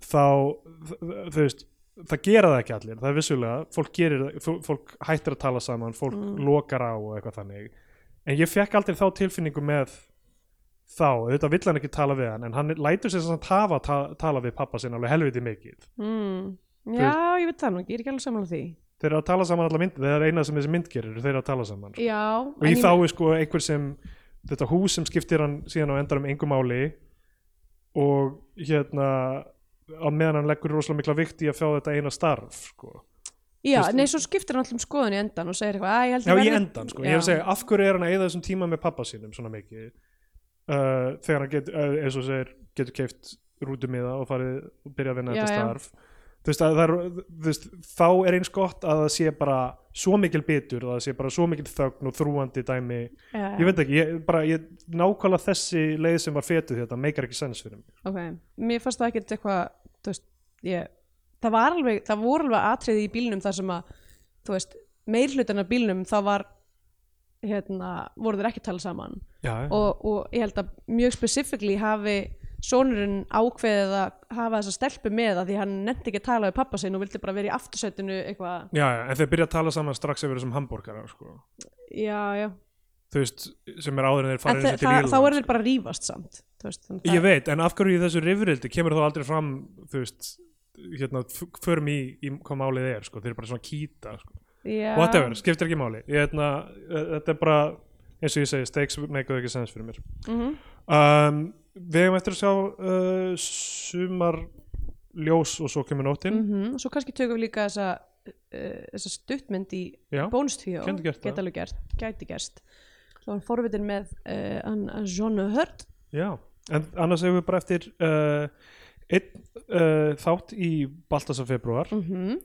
S2: þá, þ- þ- þú veist það gera það ekki allir, það er vissulega fólk, gerir, það- fó- fólk hættir að tala saman fólk lokar á og eitthvað þannig en ég fekk aldrei þá tilfinningu með þá, auðvitað vill hann ekki tala við hann en hann lætur sér samt hafa að ta- tala við pappa sinna alveg helviti mikið
S1: mm.
S2: veist-
S1: já, ég veit það nú ekki, ég er ekki alveg samanlega því
S2: þeir eru að tala saman allar myndið, það er eina sem þessi mynd gerir þeir eru að tala saman sko.
S1: já,
S2: og í þá er sko einhver sem þetta hús sem skiptir hann síðan á endanum engu máli og hérna á meðan hann leggur rosalega mikla vikt í að fá þetta eina starf sko.
S1: Já,
S2: Þú veist-
S1: nei, svo skiptir hann allum skoðun í endan og segir eitthvað, að ég held
S2: já
S1: ég
S2: í
S1: verði-
S2: endan sko. ég er að segja af hverju er hann að eyða þessum tíma með pappa sínum svona mikið uh, þegar hann getur, uh, eins og segir getur keift rútumiða og farið og byrja að vinna
S1: Já,
S2: þetta
S1: já.
S2: starf þú veist, að það er, þú veist, þá er eins gott að það sé bara svo mikil bitur það sé bara svo mikil þögn og þrúandi dæmi
S1: já,
S2: ég veit ekki, ég, bara ég, nákvæmlega þessi leið sem var fetuð þetta meikar ekki sens fyrir mig
S1: ok, mér fannst það ekkert eitthvað, þú veist, ég, það var alveg, það voru alveg atriði í bílnum þar sem að, þú veist, meirhlutin af bílnum þá var, hérna, voru þeir ekki að tala saman
S2: já,
S1: og, og ég held að mjög specifíkli hafi sonurinn ákveðið að hafa þessa stelpu með að því hann nefndi ekki að tala við pappa sinn og vildi bara vera í aftursætinu eitthvað,
S2: já, en þeir byrja að tala saman strax yfir þessum hambúrgarar sko.
S1: já, já,
S2: þú veist, sem er áður en þeir
S1: en
S2: farið
S1: þa- það- þá eru þeir bara að rífast samt, þú veist, þannig að
S2: sko. ég veit, en af hverju í þessu rifrildi kemur þá aldrei fram þú veist, hérna, f- förum í, í hvað málið er, sko, þeir eru bara svona kýta sko.
S1: Já.
S2: whatever, skiptir ekki máli ég, hérna, eh, þetta er bara, eins og ég segi stakes meikar ekki sens fyrir mér
S1: Mhm.
S2: um, við hefum eftir að sjá uh, sumar ljós og svo kemur nóttin
S1: -hmm. Svo kannski tökum við líka þessa, uh, þessa stuttmynd í
S2: Já,
S1: bónustvíó
S2: gæti gert það.
S1: Gæti alveg gert, gæti gert Það var forvitin með uh, hann John Hurt
S2: Já, en annars hefur við bara eftir uh, einn uh, þátt í Baltasar februar
S1: mm -hmm.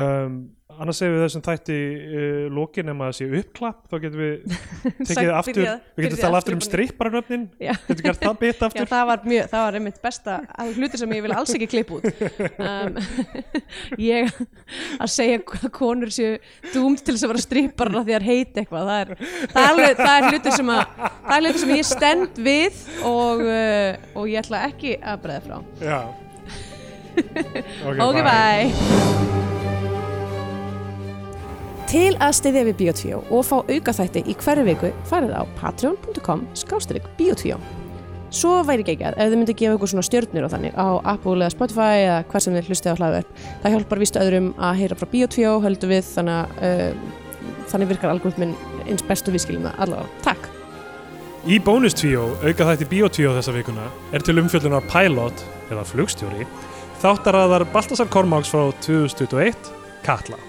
S2: um, annars hefur við þessum þætti uh, lokin nema að sé uppklapp þá getum
S1: [laughs]
S2: við tekið
S1: Sagt-
S2: aftur
S1: byrjað-
S2: við getum
S1: byrjað
S2: talað
S1: aftur
S2: aftur um
S1: upp á nýtt.
S2: stripparnöfnin
S1: Já.
S2: getum gert það bit
S1: [laughs] Já,
S2: aftur
S1: það var, mjög, það var einmitt besta að hluti sem ég vil alls ekki klippa út um, [laughs] Ég að segja hvað konur séu dúmt til þess að vera strýparna því að þær heiti eitthvað það er, það er, alveg, það er hluti sem að það er hluti sem ég stend við og, uh, og ég ætla ekki að breða frá [laughs]
S2: Já Ok,
S1: Ok, bye. Til að styðja við Bíotvíó og fá aukaþætti í hverju viku farið á patreon.com skástrík Bíotvíó. Svo væri geggjað ef þið myndi gefa ykkur svona stjörnir og þannig á Apple eða Spotify eða hvað sem þið hlustið á hlaðverk. Það hjálpar vístu öðrum að heyra frá Bíotvíó, höldum við, þannig að uh, þannig virkar algoritminn eins bestu viðskilina allavega. Takk!
S2: Í bónustvíó, auka þætti Bíotvíó þessa vikuna, er til umfjöllunar Pilot, eða flugstjóri, þáttaraðar Baltasar Kormáks frá 2021, Katla.